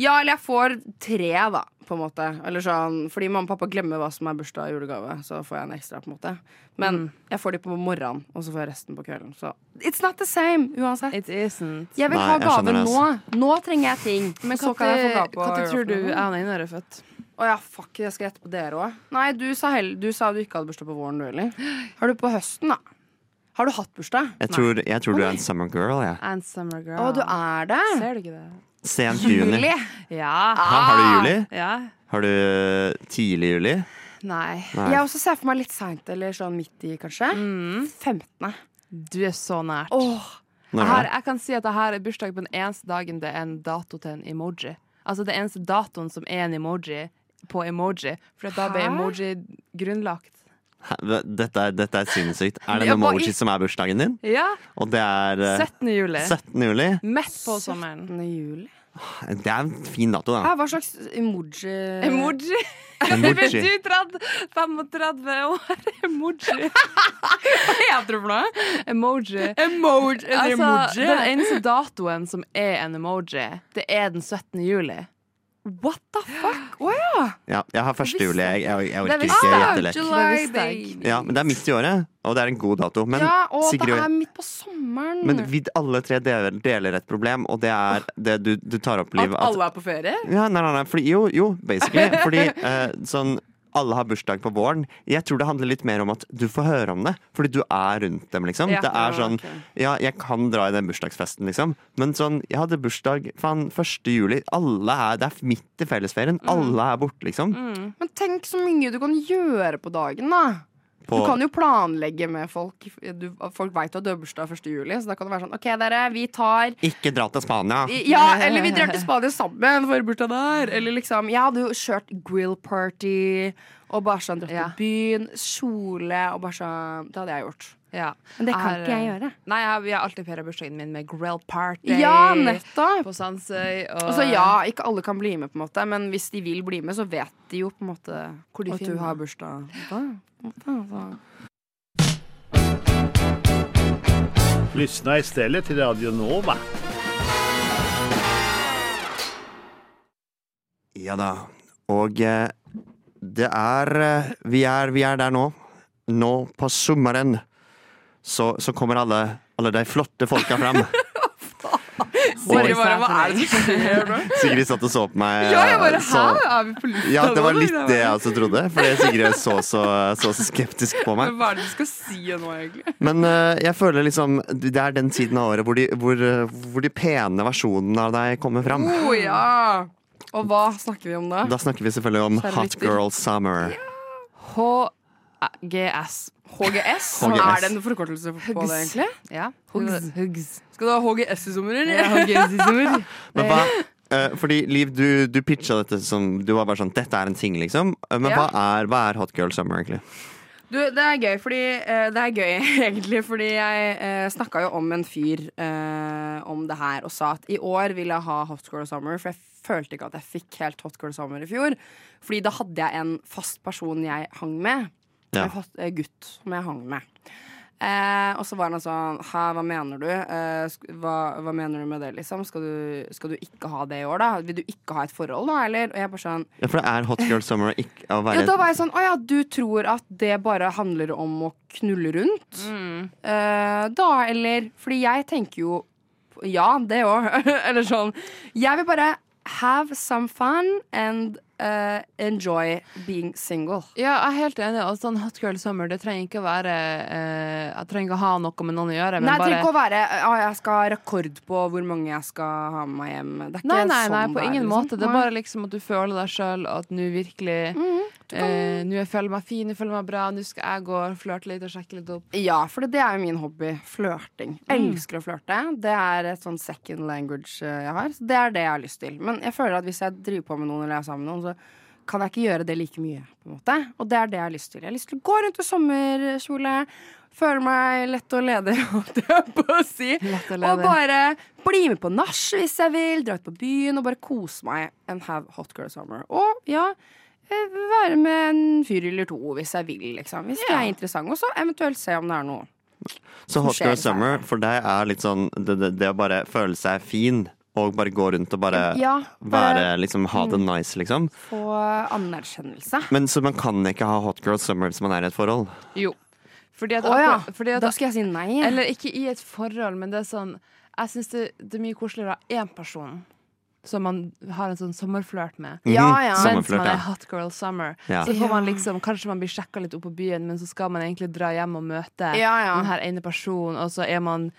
Speaker 6: Ja, eller jeg får tre, da. På en måte. Eller sånn, fordi mamma og pappa glemmer hva som er bursdag og julegave. Så får jeg en ekstra. på en måte Men
Speaker 8: Mm.
Speaker 6: jeg får de på morgenen, og så får jeg resten på kvelden. Så it's not the same uansett.
Speaker 8: It isn't.
Speaker 6: Jeg vil
Speaker 5: Nei,
Speaker 6: ha
Speaker 5: jeg
Speaker 6: gave
Speaker 5: skjønner det, altså.
Speaker 6: nå. Nå trenger jeg ting. Men så kan jeg få gave på
Speaker 8: Når tror du jeg
Speaker 6: julaften.
Speaker 8: og Einar er født?
Speaker 6: Å ja, fuck, jeg skal gjette på dere òg. Nei, du sa, hell, du sa du ikke hadde bursdag på våren, du heller. Har du på høsten, da? Har du hatt bursdag?
Speaker 5: Jeg tror, jeg tror du er en summer girl, jeg.
Speaker 8: And summer girl.
Speaker 6: Å, du er det?
Speaker 8: Ser du ikke det?
Speaker 5: Sent juni.
Speaker 6: Juli.
Speaker 8: Ja.
Speaker 5: Hæ, har du juli?
Speaker 8: ja.
Speaker 5: Har du eh, tidlig juli?
Speaker 8: Nei.
Speaker 5: Nei.
Speaker 6: Jeg også ser for meg litt seint, eller sånn midt i, kanskje.
Speaker 8: Mm.
Speaker 6: 15.
Speaker 8: Du er så nært.
Speaker 6: Åh,
Speaker 5: Når
Speaker 8: Jeg,
Speaker 5: er
Speaker 8: har,
Speaker 5: det?
Speaker 8: jeg kan si at jeg har bursdag på den eneste dagen det er en dato til en emoji. Altså den eneste datoen som er en emoji på emoji. For da ble
Speaker 6: Hæ?
Speaker 8: emoji grunnlagt.
Speaker 5: Hæ, Dette er, dette er sinnssykt. Er det
Speaker 8: Ja,
Speaker 5: en
Speaker 8: hva i-
Speaker 5: emoji som er bursdagen din?
Speaker 8: Ja.
Speaker 5: Og det er eh,
Speaker 8: 17. juli.
Speaker 5: 17. juli?
Speaker 8: Midt på sommeren.
Speaker 6: 17. juli.
Speaker 5: Det er en fin dato, da.
Speaker 6: Hæ, hva slags emoji
Speaker 8: Emoji! Når blir du
Speaker 5: Emoji.
Speaker 8: 30? 35 år? Emoji.
Speaker 6: Hva heter det for noe?
Speaker 8: Emoji.
Speaker 6: Emoji.
Speaker 8: Altså, den eneste datoen som er en emoji, det er den 17. juli.
Speaker 6: What the fuck? Å ja.
Speaker 5: Ja, jeg har 1. juli. Jeg, jeg, jeg
Speaker 8: Det
Speaker 5: orker
Speaker 8: visste
Speaker 5: ikke
Speaker 8: jeg.
Speaker 5: gjette lett.
Speaker 6: July,
Speaker 8: Det visste jeg ikke.
Speaker 6: baby.
Speaker 5: Ja, men det er midt i året, og det er en god dato. Men,
Speaker 6: ja, og
Speaker 5: Sigrid,
Speaker 6: det er midt på sommeren.
Speaker 5: men vi alle tre deler, deler et problem, og det er det du, du tar opp, Liv.
Speaker 6: at
Speaker 5: At,
Speaker 6: alle er på ferie?
Speaker 5: ja, nei, nei, nei, fordi, jo, jo, basically. Fordi eh, sånn alle har bursdag på våren. Jeg tror det handler litt mer om at du får høre om det, fordi du er rundt dem, liksom.
Speaker 6: Ja,
Speaker 5: det er
Speaker 6: ja,
Speaker 5: sånn
Speaker 6: ok.
Speaker 5: Ja, jeg kan dra i den bursdagsfesten, liksom. Men sånn, jeg hadde bursdag faen, 1. juli. Alle er, det er midt i
Speaker 6: Mm.
Speaker 5: fellesferien. Alle er borte, liksom.
Speaker 6: Men tenk så mye du kan gjøre på dagen, da.
Speaker 5: På-
Speaker 6: Du kan jo planlegge med folk. Du, folk veit jo at du har bursdag 1. juli, så da kan det være sånn OK, dere, vi tar
Speaker 5: Ikke dra til Spania.
Speaker 6: Ja, eller vi drar til Spania sammen for bursdag der. Eller liksom Jeg hadde jo kjørt grill party og bare sånn dratt
Speaker 8: Ja.
Speaker 6: til byen. Kjole og bare sånn Det hadde jeg gjort.
Speaker 8: Ja.
Speaker 6: Men det kan
Speaker 8: Er- eh,
Speaker 6: ikke jeg gjøre.
Speaker 8: Nei, jeg, jeg har alltid feira bursdagen min med grill party
Speaker 6: Ja, nettopp.
Speaker 8: på Sandsøy. Og,
Speaker 6: Altså ja, ikke alle kan bli med, på en måte men hvis de vil bli med, så vet de jo på en måte
Speaker 8: Hvor de
Speaker 6: at
Speaker 8: finner.
Speaker 6: du har bursdag. Da, på en måte, altså.
Speaker 11: Lyssna istället till Radio Nova.
Speaker 5: Ja da. Og eh, det er, eh, vi er Vi er der nå. Nå på sommeren så, så kommer alle, alle de flotte folka fram.
Speaker 8: Sorry, bare, hva er det som skjer nå?
Speaker 5: Sigrid satt og så på meg.
Speaker 8: Ja, jeg bare
Speaker 5: eh,
Speaker 8: Hæ?
Speaker 5: så-
Speaker 8: Er vi på lufta
Speaker 5: Ja, det var
Speaker 8: nå,
Speaker 5: litt
Speaker 8: liksom?
Speaker 5: det jeg også trodde, fordi Sigrid så så, så så skeptisk på meg.
Speaker 8: Men Hva er det du skal si nå, egentlig?
Speaker 5: Men eh, jeg føler liksom det er den tiden av året hvor de, hvor, eh, hvor de pene versjonene av deg kommer fram.
Speaker 6: Å ja! Og hva snakker vi om da?
Speaker 5: Da snakker vi selvfølgelig om
Speaker 6: Kjære
Speaker 5: Hot
Speaker 6: lytter.
Speaker 5: Girl Summer.
Speaker 8: HGS.
Speaker 6: HGS?
Speaker 5: HGS.
Speaker 6: Er det en forkortelse på det, egentlig?
Speaker 8: Ja.
Speaker 6: Hugs.
Speaker 8: Hugs.
Speaker 6: Skal du ha HGS i sommer, eller?
Speaker 8: Ja, HGS i sommer.
Speaker 5: Men hva, eh, fordi Liv, du, du pitcha dette som Du var bare sånn Dette er en ting, liksom. Eh, Men
Speaker 6: Ja.
Speaker 5: hva, er, hva er Hot Girl Summer, egentlig?
Speaker 6: Du, det er gøy, fordi eh, Det er gøy, egentlig, fordi jeg uh, snakka jo om en fyr eh, om det her og sa at i år vil jeg ha Hot Girl Summer, for jeg følte ikke at jeg fikk helt Hot Girl Summer i fjor. Fordi da hadde jeg en fast person jeg hang med.
Speaker 5: Ja.
Speaker 6: En fast, eh, gutt som jeg hang med. Eh, og så var han sånn Hæ, hva mener du? Eh, sk- hva, hva mener du med det, liksom? Skal du, skal du ikke ha det i år, da? Vil du ikke ha et forhold nå, eller? Og jeg bare sånn
Speaker 5: Ja, for det er Hot Girl Summer å ikke, å
Speaker 6: ja,
Speaker 5: være
Speaker 6: da var jeg sånn, å ja, du tror at det bare handler om å knulle rundt
Speaker 8: Mm.
Speaker 6: Eh, Da, eller, fordi jeg tenker jo Ja, det også Eller sånn, jeg vil bare Have some fun And eh, enjoy being single
Speaker 8: Ja, jeg er helt enig. Og sånn Hot Girl Summer det trenger ikke å være eh, Jeg trenger ikke å ha noe med noen å gjøre. Men
Speaker 6: Nei, det
Speaker 8: bare,
Speaker 6: trenger ikke å være Å, jeg skal ha rekord på hvor mange jeg skal ha med meg hjem Det er ikke
Speaker 8: Nei, nei, nei,
Speaker 6: sånn
Speaker 8: på
Speaker 6: det er,
Speaker 8: ingen
Speaker 6: liksom.
Speaker 8: måte. Det er
Speaker 6: Nei.
Speaker 8: bare liksom at du føler deg sjøl at nå virkelig eh, Nå jeg føler meg fin, nå føler jeg meg bra, nå skal jeg gå og flørte litt og sjekke litt opp.
Speaker 6: Ja, for det er jo min hobby. Flørting.
Speaker 8: Mm.
Speaker 6: Elsker å flørte. Det er et sånn second language eh, jeg har. Så det er det jeg har lyst til. Men jeg føler at hvis jeg driver på med noen eller jeg er sammen med noen, så kan jeg ikke gjøre det like mye. på en måte Og det er det jeg har lyst til. Jeg har lyst til å gå rundt i sommerkjole, føle meg lett og ledig, holdt jeg på å si.
Speaker 8: Lett og
Speaker 6: Og
Speaker 8: ledig.
Speaker 6: bare bli med på nach hvis jeg vil, dra ut på byen og bare kose meg and have hot girl summer. Og ja, eh, være med en fyr eller to hvis jeg vil, liksom. Hvis det er interessant. Og så eventuelt se om det er noe.
Speaker 5: Så Hot
Speaker 6: skjer
Speaker 5: Girl
Speaker 6: i
Speaker 5: Summer for deg er litt sånn det, det, det å bare føle seg fin og bare gå rundt og bare
Speaker 6: Ja, eh, mm.
Speaker 5: være
Speaker 6: bare
Speaker 5: liksom ha det nice, liksom.
Speaker 6: få anerkjennelse.
Speaker 5: Men så man kan ikke ha Hot Girl Summer hvis man er i et forhold.
Speaker 8: Jo. Fordi at,
Speaker 6: Å ja.
Speaker 8: akkurat- fordi at
Speaker 6: Da skal jeg si nei.
Speaker 8: Eller ikke i et forhold, men det er sånn Jeg syns det, det er mye koseligere å ha én person som man har en sånn sommerflørt med.
Speaker 6: Ja, ja.
Speaker 8: Mens
Speaker 5: Sommerflørt,
Speaker 8: man er
Speaker 5: ja.
Speaker 8: hot girl summer.
Speaker 5: Ja.
Speaker 8: Så får man liksom, Kanskje man blir sjekka litt opp på byen, men så skal man egentlig dra hjem og møte
Speaker 6: Ja, ja.
Speaker 8: den her ene personen, og så er man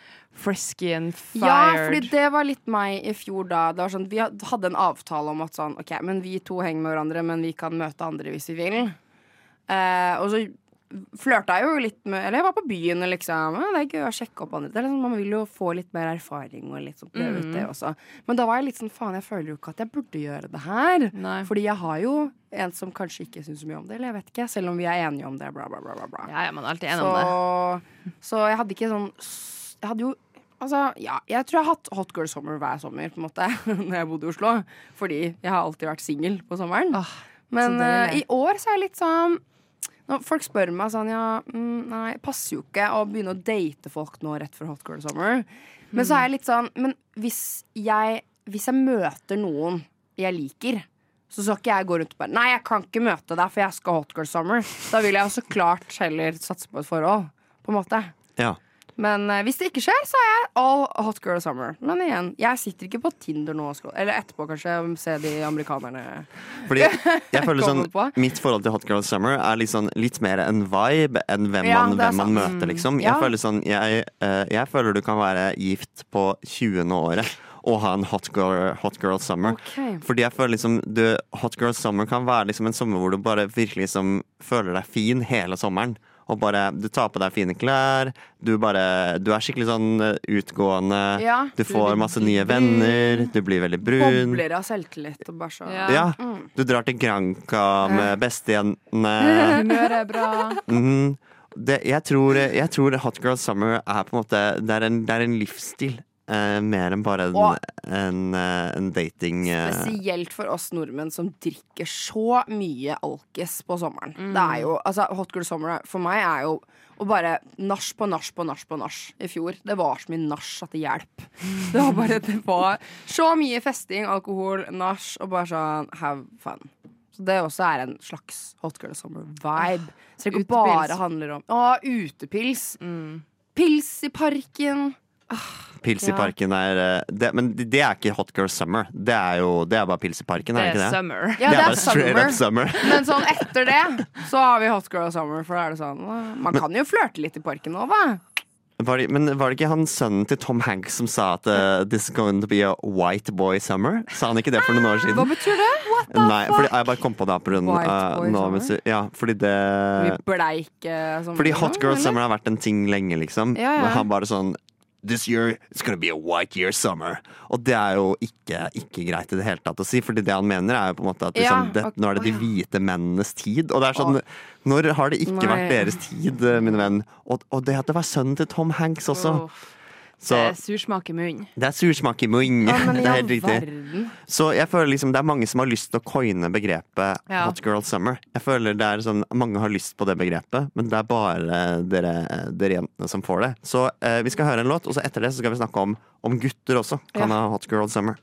Speaker 8: frisky and
Speaker 6: Ja, fordi
Speaker 8: fired.
Speaker 6: det var litt meg i fjor da. Det var sånn, vi hadde en avtale om at sånn, ok, men vi to henger med hverandre, men vi kan møte andre hvis vi vil. Eh, og så flørta jeg jo litt med Eller jeg var på byen og liksom ja, Det er gøy å sjekke opp andre. Det er liksom, man vil jo få litt mer erfaring og litt sånn prøve ut
Speaker 8: Mm.
Speaker 6: det også. Men da var jeg litt sånn faen, jeg føler jo ikke at jeg burde gjøre det her.
Speaker 8: Nei.
Speaker 6: Fordi jeg har jo en som kanskje ikke syns så mye om det, eller jeg vet ikke, selv om vi er enige om det, bla, bla, bla, bla. bla.
Speaker 8: Ja, ja, man er alltid enig om det.
Speaker 6: Så, så jeg hadde ikke sånn s- Jeg hadde jo Altså, ja, jeg tror jeg har hatt hot girl summer hver sommer, på en måte, når jeg bodde i Oslo. Fordi jeg har alltid vært singel på sommeren.
Speaker 8: Åh,
Speaker 6: Men
Speaker 8: så deilig.
Speaker 6: eh, i år så er jeg litt sånn når folk spør meg sånn Ja, mm, nei, passer jo ikke å begynne å date folk nå rett før Hot Girl Summer. Men så er jeg litt sånn Men hvis jeg, hvis jeg møter noen jeg liker, så skal ikke jeg gå rundt og bare Nei, jeg kan ikke møte deg, for jeg skal ha Hot Girl Summer. Da vil jeg jo så klart heller satse på et forhold. På en måte.
Speaker 5: Ja.
Speaker 6: Men eh, hvis det ikke skjer, så er jeg all hot girl summer. Men igjen, jeg sitter ikke på Tinder nå. og scroll- Eller etterpå, kanskje. Se de amerikanerne.
Speaker 5: Fordi jeg føler sånn,
Speaker 6: Kommer på.
Speaker 5: Mitt forhold til Hot Girl Summer er litt sånn, litt mer en vibe enn hvem
Speaker 6: Ja,
Speaker 5: man,
Speaker 6: det er
Speaker 5: hvem man
Speaker 6: sant. Mm.
Speaker 5: møter, liksom. Jeg,
Speaker 6: Ja.
Speaker 5: føler sånn, jeg, eh, jeg føler du kan være gift på 20. året og ha en Hot Girl, hot girl Summer.
Speaker 6: Ok.
Speaker 5: Fordi jeg føler liksom du, Hot Girl Summer kan være liksom en sommer hvor du bare virkelig liksom, føler deg fin hele sommeren. Og bare, Du tar på deg fine klær, du, bare, du er skikkelig sånn eh, utgående.
Speaker 6: Ja,
Speaker 5: du
Speaker 6: du
Speaker 5: får
Speaker 6: blir
Speaker 5: masse nye venner, du blir veldig brun.
Speaker 6: Bobler av selvtillit og bare så
Speaker 5: Ja.
Speaker 6: Mm.
Speaker 5: Du drar til Granca med bestejentene.
Speaker 6: Humøret er bra.
Speaker 5: Mhm. Det, jeg, tror, jeg tror Hot Girl Summer er på en måte Det er en, det er en livsstil. eh, mer enn bare en,
Speaker 6: Og-
Speaker 5: en, eh, en dating... eh.
Speaker 6: Spesielt for oss nordmenn som drikker så mye alkis på sommeren. Det er jo, altså Hot Girl Summer er- for meg er jo å bare nach på nach på nach på nach i fjor. Det var så mye nach at det hjelp. Det var bare det var så mye festing, alkohol, nach og bare sånn have fun. Så det også er en slags Hot Girl Summer-vibe. Så det ikke
Speaker 8: Utepils.
Speaker 6: bare handler om Å, utepils. Pils i parken.
Speaker 5: Pils i
Speaker 6: Ja.
Speaker 5: parken er eh, det, Men det det er ikke Hot Girl Summer. Det er jo det er bare Pils i parken, er det ikke det?
Speaker 8: summer.
Speaker 5: det
Speaker 6: Ja, det
Speaker 5: er
Speaker 6: er
Speaker 5: bare straight up
Speaker 6: summer.
Speaker 5: summer.
Speaker 6: Men sånn etter det så har vi Hot Girl Summer. For da er det sånn «Åh, Man kan jo flørte litt i parken nå, hva?
Speaker 5: Var det, men var det ikke han sønnen til Tom Hanks som sa at eh, this is going to be a white boy summer? Sa han ikke det for noen år siden?
Speaker 6: Hva betyr det?
Speaker 5: Nei, fordi jeg bare kom på det på grunn
Speaker 6: White
Speaker 5: av
Speaker 6: boy
Speaker 5: nå,
Speaker 6: summer?
Speaker 5: mens vi- Ja, fordi
Speaker 6: Vi eh,
Speaker 5: det
Speaker 6: bleike sommer.
Speaker 5: Eh, Fordi hot girl summer har vært en ting lenge, liksom.
Speaker 6: Ja, ja.
Speaker 5: Men han bare sånn This year it's gonna be a white year summer. Og det er jo ikke, ikke greit i det hele tatt å si, Fordi det han mener, er jo på en måte at
Speaker 6: Ja,
Speaker 5: liksom, det,
Speaker 6: ok.
Speaker 5: nå er det de hvite mennenes tid. Og det er sånn Når har det ikke
Speaker 6: Nei.
Speaker 5: vært deres tid, eh, min venn? Og, og det at det var sønnen til Tom Hanks også. Så
Speaker 8: Det er sursmak i munnen.
Speaker 5: det er sursmak i munnen.
Speaker 6: Ja, men i
Speaker 5: det er
Speaker 6: all
Speaker 5: helt riktig.
Speaker 6: verden.
Speaker 5: Så jeg føler liksom det er mange som har lyst til å coine begrepet
Speaker 8: Ja.
Speaker 5: hot girl summer. Jeg føler det er sånn, Mange har lyst på det begrepet, men det er bare dere, dere jentene som får det. Så eh, vi skal høre en låt, og så etter det så skal vi snakke om, om gutter også kan
Speaker 6: Ja.
Speaker 5: ha hot girl summer.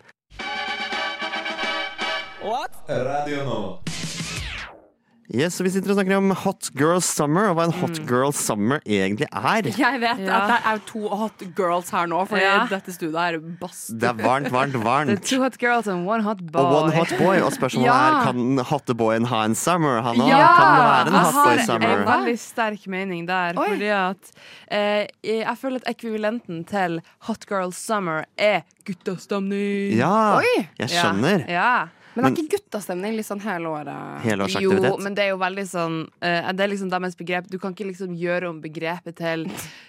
Speaker 7: Radio Nova.
Speaker 5: Yes, så Vi sitter og snakker om hot girl summer, og hva en hot girl summer egentlig er.
Speaker 6: Jeg vet
Speaker 8: Mm. Ja.
Speaker 6: at det er to hot girls her nå, fordi
Speaker 8: Ja.
Speaker 6: dette studioet er bass.
Speaker 5: Det er varmt, varmt,
Speaker 8: Det er
Speaker 5: varmt.
Speaker 8: two hot girls and one hot boy.
Speaker 5: Og one hot boy, og spørsmålet
Speaker 6: Ja.
Speaker 5: er kan hotte boyen ha en summer? Han òg
Speaker 6: Ja.
Speaker 5: kan være en
Speaker 8: Jeg
Speaker 5: hot boy
Speaker 8: har en
Speaker 5: summer.
Speaker 8: veldig sterk mening der.
Speaker 6: Oi.
Speaker 8: Fordi at eh, jeg føler at ekvivalenten til Hot Girl Summer er guttastemning.
Speaker 5: Ja,
Speaker 6: Oi.
Speaker 5: jeg skjønner.
Speaker 8: Ja, ja.
Speaker 6: Men det er ikke guttastemning litt sånn hele året?
Speaker 5: Helårsaktivitet.
Speaker 8: Jo, men det er jo veldig sånn eh, Det er liksom deres begrep. Du kan ikke liksom gjøre om begrepet til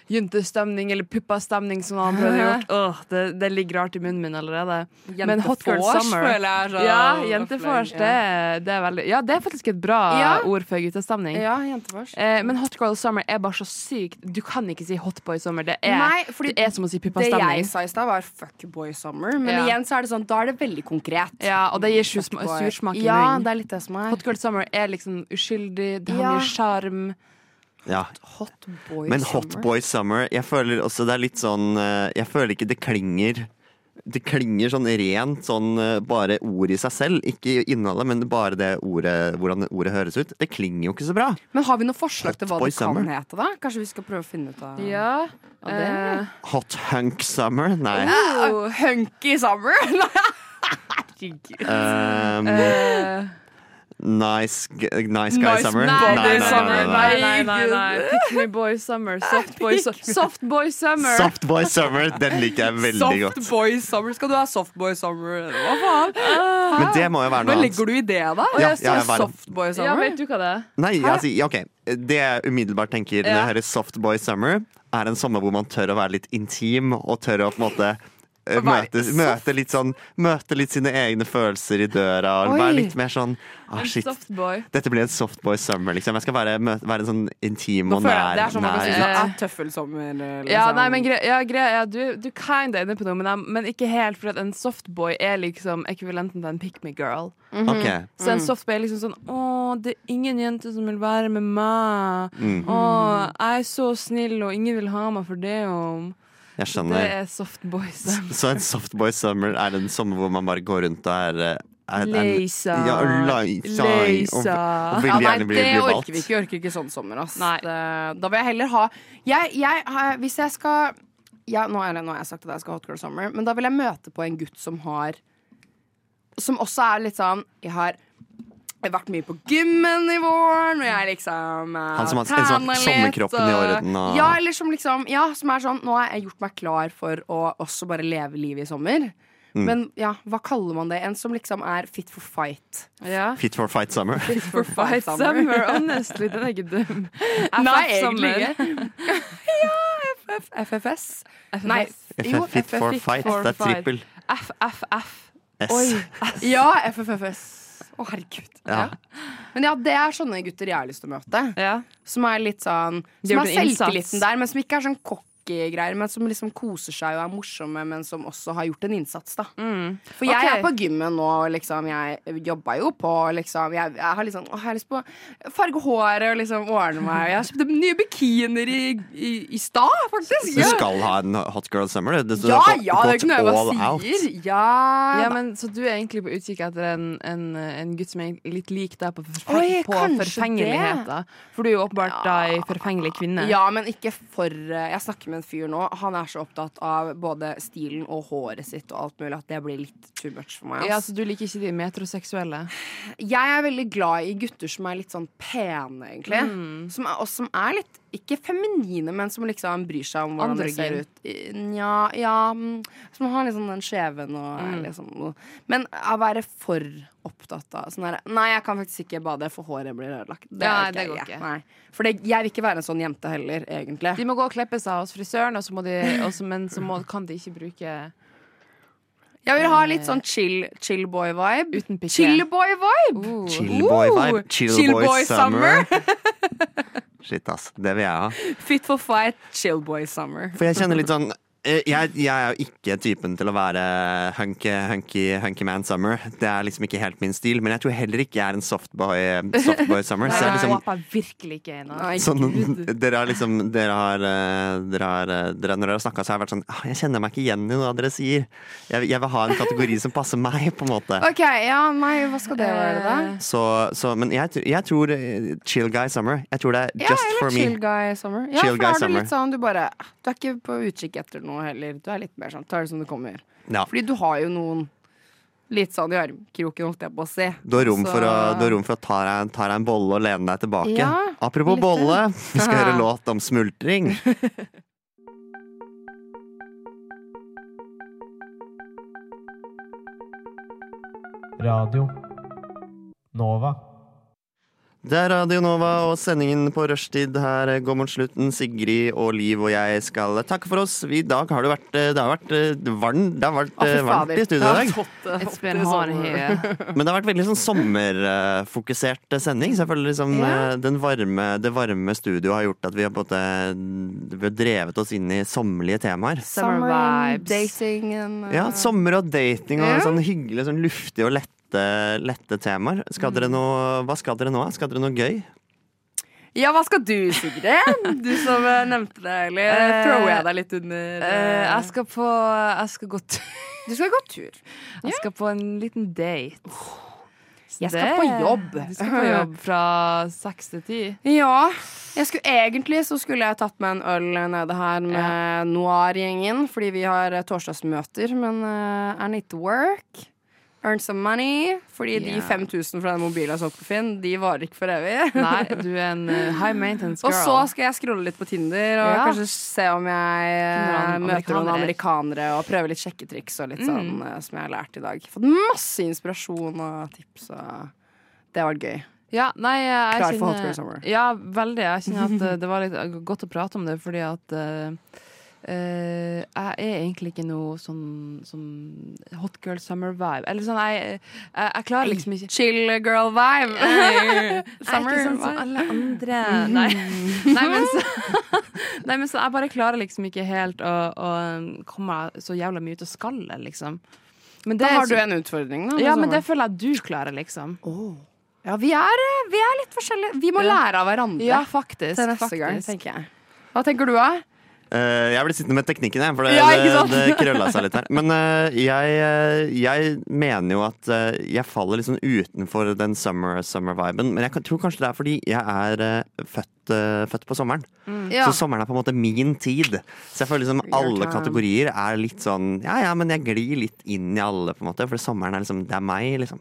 Speaker 8: juntestemning eller puppastemning, som han prøvde å gjøre. Åh, det, det ligger rart i munnen min allerede. Men Hot Girl
Speaker 6: Jentefors,
Speaker 8: Summer
Speaker 6: føler jeg er så-
Speaker 8: Ja, jentefors. Det, det er veldig Ja, det er faktisk et bra
Speaker 6: Ja.
Speaker 8: ord for guttastemning.
Speaker 6: Ja, jentefors.
Speaker 8: Eh, men Hot Girl Summer er bare så sykt. Du kan ikke si Hot Boy Summer. Det er,
Speaker 6: Nei, fordi
Speaker 8: det er som å si
Speaker 6: Det jeg
Speaker 8: puppastemning.
Speaker 6: sa i stad, var fuckboy summer.
Speaker 8: Ja.
Speaker 6: Men igjen så er det sånn, da er det veldig konkret.
Speaker 8: Ja, og det gir sursma-
Speaker 6: Fuckboy.
Speaker 8: sursmak i
Speaker 6: Ja,
Speaker 8: munnen.
Speaker 6: det er litt det som er.
Speaker 8: Hot Girl Summer er liksom uskyldig. Det har
Speaker 6: Ja.
Speaker 8: mye sjarm.
Speaker 5: Ja.
Speaker 6: Hot boy
Speaker 5: Men Hot Boy Summer Jeg føler også det er litt sånn eh, Jeg føler ikke det klinger Det klinger sånn rent Sånn eh, bare ord i seg selv Ikke innholdet, men bare det ordet Hvordan ordet høres ut Det klinger jo ikke så bra
Speaker 6: Men har vi noen forslag til hva
Speaker 5: Hotboy
Speaker 6: det kan
Speaker 5: Summer.
Speaker 6: hete, da? Kanskje vi skal prøve å finne ut av
Speaker 8: Ja.
Speaker 6: av det?
Speaker 8: eh,
Speaker 5: Hot Hunk Summer Nei
Speaker 6: Ah, hunky summer?
Speaker 5: um,
Speaker 8: eh,
Speaker 5: nice, g- nice Guy
Speaker 6: Nice
Speaker 5: Summer Nei,
Speaker 6: Body
Speaker 5: nei, nei,
Speaker 6: Summer.
Speaker 5: nei,
Speaker 8: nei, nei, nei, nei. Pick me boy summer. Soft boy, su soft boy
Speaker 5: nei.
Speaker 8: summer.
Speaker 5: Soft Boy Summer Den liker jeg veldig godt
Speaker 6: Softboy summer? Skal du ha softboy summer? Hva faen?
Speaker 5: Men det må jo være
Speaker 6: Hva
Speaker 5: noe annet
Speaker 6: legger du i det, da?
Speaker 5: Ja, ja, jeg bare-
Speaker 6: softboy
Speaker 8: Ja,
Speaker 6: summer?
Speaker 8: vet du hva det er?
Speaker 5: Nei, altså, ja, ok Det jeg umiddelbart tenker når jeg hører Soft Boy Summer, er en sommer hvor man tør å være litt intim, og tør å på en måte eh, Møte, møte, litt sånn, møte litt sine egne følelser i døra. Og
Speaker 6: Oi.
Speaker 5: være litt mer sånn ah, shit.
Speaker 8: Soft boy.
Speaker 5: Dette blir en softboy summer. liksom Jeg skal være, møte, være en sånn intim og
Speaker 6: Føler jeg-
Speaker 5: nær.
Speaker 6: det er sånn man kan si
Speaker 5: nær.
Speaker 6: sånn, ah, tøffelsommer. Liksom.
Speaker 5: sånn-
Speaker 8: Ja, nei, men gre ja, gre ja, du, du kind er inne på noe, men, jeg, men ikke helt, for at en softboy er liksom ekvivalenten til en pick me girl.
Speaker 5: Ok.
Speaker 8: Så en softboy er liksom sånn Å, det er ingen jenter som vil være med meg.
Speaker 5: Mm,
Speaker 8: Å, jeg er så snill, og ingen vil ha meg for det om.
Speaker 5: Jeg
Speaker 8: Det
Speaker 5: skjønner.
Speaker 8: er softboy summer.
Speaker 5: Så en softboy summer er en sommer hvor man bare går rundt og er eh, er- er-
Speaker 6: Leisa.
Speaker 5: Ja, Leisa. Og, og vil gjerne bli,
Speaker 6: det
Speaker 5: bli valgt.
Speaker 6: orker vi ikke. Vi orker ikke sånn sommer, ass. Det, da vil jeg heller ha jeg, jeg, har- Hvis jeg skal ja, nå, er det, nå har jeg sagt at jeg skal ha Hot Girl Summer, men da vil jeg møte på en gutt som har Som også er litt sånn Jeg har vært mye på gymmen i våren, og jeg liksom eh,
Speaker 5: Han som har- en som har
Speaker 6: trener
Speaker 5: sommerkroppen i
Speaker 6: og-
Speaker 5: orden og-
Speaker 6: Ja, eller som liksom Ja, som er sånn Nå har jeg gjort meg klar for å også bare leve livet i sommer.
Speaker 5: Mm.
Speaker 6: Men ja, hva kaller man det? En som liksom er fit for fight. Ja.
Speaker 5: Fit for fight summer.
Speaker 6: Fit for
Speaker 8: Fight Summer, honestly. Den er ikke dum.
Speaker 6: Nei,
Speaker 8: FF
Speaker 6: egentlig
Speaker 8: Summer.
Speaker 6: ikke. ja, FF, FFS. Nei, jo,
Speaker 5: FF, fit for
Speaker 6: FF,
Speaker 5: fight.
Speaker 6: for
Speaker 5: Det er
Speaker 6: fight.
Speaker 5: trippel.
Speaker 8: FFF.
Speaker 5: S.
Speaker 6: Oi. Ja, FFFS. Å, herregud.
Speaker 5: Ja.
Speaker 6: Men ja, det er sånne gutter jeg har lyst til å møte. Som er litt sånn
Speaker 8: De
Speaker 6: Som
Speaker 8: gjør
Speaker 6: har
Speaker 8: en innsats.
Speaker 6: selvtilliten der, men som ikke er sånn cocky greier, men som liksom koser seg og er morsomme, men som også har gjort en innsats, da.
Speaker 8: Mm.
Speaker 6: For jeg
Speaker 8: Ok.
Speaker 6: er på gymmen nå, og liksom. Jeg jobba jo på, liksom. Jeg, jeg har liksom Å, jeg har lyst på å farge håret og liksom ordne meg. Jeg kjøpte nye bikinier i, i, i stad, faktisk.
Speaker 5: Du skal ha en hot girl summer, du. du
Speaker 6: Ja,
Speaker 5: har gått-
Speaker 6: ja, det er ikke noe jeg
Speaker 5: gått
Speaker 6: bare
Speaker 5: all
Speaker 6: sier.
Speaker 5: out.
Speaker 6: Ja,
Speaker 8: Ja,
Speaker 6: da.
Speaker 8: men Så du er egentlig på utkikk etter en, en, en gutt som er litt lik deg på, forfe
Speaker 6: Oi,
Speaker 8: på
Speaker 6: kanskje
Speaker 8: forfengelighet?
Speaker 6: det.
Speaker 8: da For du er jo åpenbart da ei forfengelig kvinne.
Speaker 6: Ja, men ikke for eh, Jeg snakker med en fyr nå. Han er så opptatt av både stilen og håret sitt og alt mulig at det blir litt too much for meg.
Speaker 8: Ja,
Speaker 6: ass.
Speaker 8: Så du liker ikke de metroseksuelle?
Speaker 6: Jeg er veldig glad i gutter som er litt sånn pene, egentlig.
Speaker 8: Mm.
Speaker 6: Som er, og som er litt ikke feminine, men som liksom bryr seg om hvordan dere ser
Speaker 8: Androgyn.
Speaker 6: ut. I- Nja, ja mm, Som har liksom den skjeven og er
Speaker 8: Mm.
Speaker 6: liksom Men å være for opptatt av sånn der Nei, jeg kan faktisk ikke bade, for håret blir ødelagt.
Speaker 8: Ja,
Speaker 6: orker
Speaker 8: det
Speaker 6: jeg
Speaker 8: går ikke.
Speaker 6: Nei. For det, jeg vil ikke være en sånn jente heller, egentlig.
Speaker 8: De må gå og klippe seg hos frisøren, og så må de, og så- men så må, kan de ikke bruke
Speaker 6: Jeg vil ha litt sånn chill, chill boy-vibe.
Speaker 8: Uten piké.
Speaker 6: Chill boy-vibe!
Speaker 5: Chill boy vibe. Chill, boy, summer. Shit, ass. Det vil jeg ha.
Speaker 6: Fit for fight, chill boy summer.
Speaker 5: For jeg kjenner litt sånn eh, jeg, jeg er jo ikke typen til å være hunky, hunky, hunky man summer. Det er liksom ikke helt min stil. Men jeg tror heller ikke jeg er en softboy, softboy summer. Så jeg
Speaker 8: Jeg
Speaker 5: liksom,
Speaker 8: håper virkelig ikke en av
Speaker 5: sånn, dere har liksom Dere har, eh, dere har eh, dere, Når dere har snakka, så har jeg vært sånn «Ah, Jeg kjenner meg ikke igjen i noe av dere sier. Jeg, jeg vil ha en kategori som passer meg, på en måte.
Speaker 6: OK, ja, nei, hva skal det være, da?
Speaker 8: eh,
Speaker 5: Så, så, men jeg, tr- jeg tror eh, chill guy summer. Jeg tror det er
Speaker 6: Ja,
Speaker 5: just
Speaker 6: eller
Speaker 5: for
Speaker 6: chill
Speaker 5: me.
Speaker 6: guy summer. Ja,
Speaker 5: Chill
Speaker 6: for
Speaker 5: guy
Speaker 6: da er du
Speaker 5: summer.
Speaker 6: litt sånn, du bare Du er ikke på utkikk etter noe heller. Du er litt mer sånn, tar det som det kommer.
Speaker 5: Ja.
Speaker 6: Fordi du har jo noen litt sånn i armkroken, holdt jeg på å si.
Speaker 5: Du har rom
Speaker 6: Så-
Speaker 5: for å, du har rom for å ta, deg, ta deg en bolle og lene deg tilbake.
Speaker 6: Ja,
Speaker 5: Apropos
Speaker 6: litt
Speaker 5: bolle,
Speaker 6: det.
Speaker 5: vi skal høre låt om smultring.
Speaker 1: Radio Nova.
Speaker 5: Det er Radio Nova og sendingen på rushtid her går mot slutten. Sigrid og Liv og jeg skal takke for oss. I dag har det vært, eh, det har vært eh, varm, det har vært
Speaker 6: Å, fy
Speaker 5: eh, varmt
Speaker 6: fader.
Speaker 5: i studio i
Speaker 6: Det
Speaker 5: dag.
Speaker 6: har fått, eh,
Speaker 8: It's
Speaker 6: fått
Speaker 8: been
Speaker 6: det
Speaker 8: hard
Speaker 6: sånn.
Speaker 8: here.
Speaker 5: Men det har vært veldig sånn sommerfokusert sending. Så jeg føler liksom
Speaker 6: Ja.
Speaker 5: eh, den varme, det varme studioet har gjort at vi har på en måte vi har drevet oss inn i sommerlige temaer.
Speaker 8: Summer
Speaker 6: and
Speaker 8: vibes.
Speaker 6: Dating eh, and
Speaker 5: Ja, sommer og dating og
Speaker 6: Ja.
Speaker 5: sånn hyggelig, sånn luftig og lette, lette temaer. Skal
Speaker 6: Mm.
Speaker 5: dere noe, hva skal dere nå? Skal dere noe gøy?
Speaker 6: Ja, hva skal du, Sigrid? Du som eh, nevnte det, eller
Speaker 8: Eh,
Speaker 6: thrower jeg deg litt under
Speaker 8: Eh,
Speaker 6: eh,
Speaker 8: jeg skal på Jeg skal gå tur.
Speaker 6: Du skal gå tur.
Speaker 8: Jeg skal på en liten date. Så
Speaker 6: Jeg skal
Speaker 8: det-
Speaker 6: på jobb.
Speaker 8: Du skal på jobb fra seks til ti.
Speaker 6: Ja. Jeg skulle, egentlig så skulle jeg tatt med en øl nede her med Noir-gjengen, fordi vi har eh, torsdagsmøter, men eh, I need to work. Earn some money. Fordi de
Speaker 8: Ja.
Speaker 6: 5000 fra den mobilen jeg så på Finn, de varer ikke for evig.
Speaker 8: Nei, du er en eh, high maintenance girl.
Speaker 6: Og så skal jeg scrolle litt på Tinder og
Speaker 8: Ja.
Speaker 6: kanskje se om jeg eh,
Speaker 8: Noen
Speaker 6: møter noen
Speaker 8: amerikanere.
Speaker 6: amerikanere og prøve litt sjekketriks og litt sånn
Speaker 8: Mm.
Speaker 6: eh, som jeg har lært i dag. Fått masse inspirasjon og tips, og det har vært gøy.
Speaker 8: Ja, nei, jeg
Speaker 6: Klar
Speaker 8: kjenner-
Speaker 6: for Hot Girl Summer.
Speaker 8: Ja, veldig. Jeg kjenner at eh, det var litt godt å prate om det, fordi at eh, eh, jeg er egentlig ikke noe sånn, sånn hot girl summer-vibe. Eller sånn, jeg, jeg, jeg klarer liksom ikke
Speaker 6: Chill girl vibe.
Speaker 8: Jeg er
Speaker 6: Summer Mhm.
Speaker 8: ikke sånn som
Speaker 6: vibe.
Speaker 8: alle andre. Nei, nei, men, så, nei men så jeg bare klarer liksom ikke helt å, å um, komme meg så jævla mye ut av skallet, liksom. Men
Speaker 6: Da
Speaker 8: det er
Speaker 6: har
Speaker 8: så-
Speaker 6: du en utfordring, da. med
Speaker 8: Ja, men det
Speaker 6: sommeren.
Speaker 8: føler jeg du klarer, liksom.
Speaker 6: ja vi, er, eh, vi er litt forskjellige. Vi må
Speaker 8: Ja.
Speaker 6: lære av hverandre
Speaker 8: Ja, faktisk.
Speaker 6: til neste gang,
Speaker 8: faktisk.
Speaker 6: tenker jeg. Hva tenker du, da?
Speaker 5: Eh, jeg ble sittende med teknikken, jeg, for det,
Speaker 12: Ja, ikke sant?
Speaker 5: det, det krølla seg litt her. Men eh, jeg, eh, jeg mener jo at eh, jeg faller liksom utenfor den summer-viben. men jeg kan- tror kanskje det er fordi jeg er eh, født, eh, født på sommeren.
Speaker 13: Mm. Ja.
Speaker 5: Så sommeren er på en måte min tid. Så jeg føler liksom alle
Speaker 13: time.
Speaker 5: kategorier er litt sånn Ja ja, men jeg glir litt inn i alle, på en måte. For sommeren er liksom Det er meg, liksom.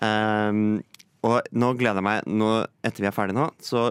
Speaker 5: Ehm, og nå gleder jeg meg nå, Etter vi er ferdig nå, så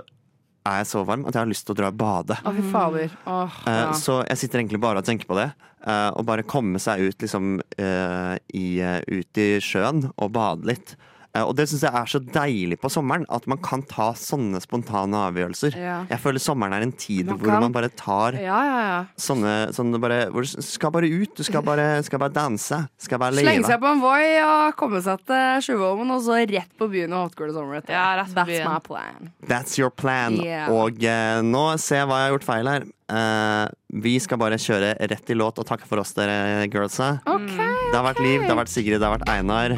Speaker 5: er jeg så varm at jeg har lyst til å dra og bade.
Speaker 6: Å, fy fader. Åh,
Speaker 5: Eh,
Speaker 6: ja.
Speaker 5: Så jeg sitter egentlig bare og tenker på det. eh, og bare komme seg ut, liksom, eh, i, eh, ut i sjøen og bade litt. Eh, og det syns jeg er så deilig på sommeren, at man kan ta sånne spontane avgjørelser.
Speaker 6: Ja.
Speaker 5: Jeg føler sommeren er en tid
Speaker 6: Man
Speaker 5: hvor
Speaker 6: kan.
Speaker 5: man bare tar
Speaker 6: Ja, ja, ja.
Speaker 5: sånne, sånne bare, Hvor du skal bare ut, du skal bare, skal bare danse. Skal bare
Speaker 6: Slenge
Speaker 5: leve.
Speaker 6: seg på en Voi og komme seg til Sjuvholmen, og så rett på byen og hotgirl sommer etter. Ja,
Speaker 8: rett på
Speaker 6: That's
Speaker 8: byen.
Speaker 6: my plan.
Speaker 5: That's your plan.
Speaker 6: Yeah.
Speaker 5: Og eh, nå ser jeg hva jeg har gjort feil her. Eh, vi skal bare kjøre rett i låt og takke for oss, dere girlsa. det har vært Liv, det har vært Sigrid, det har vært Einar.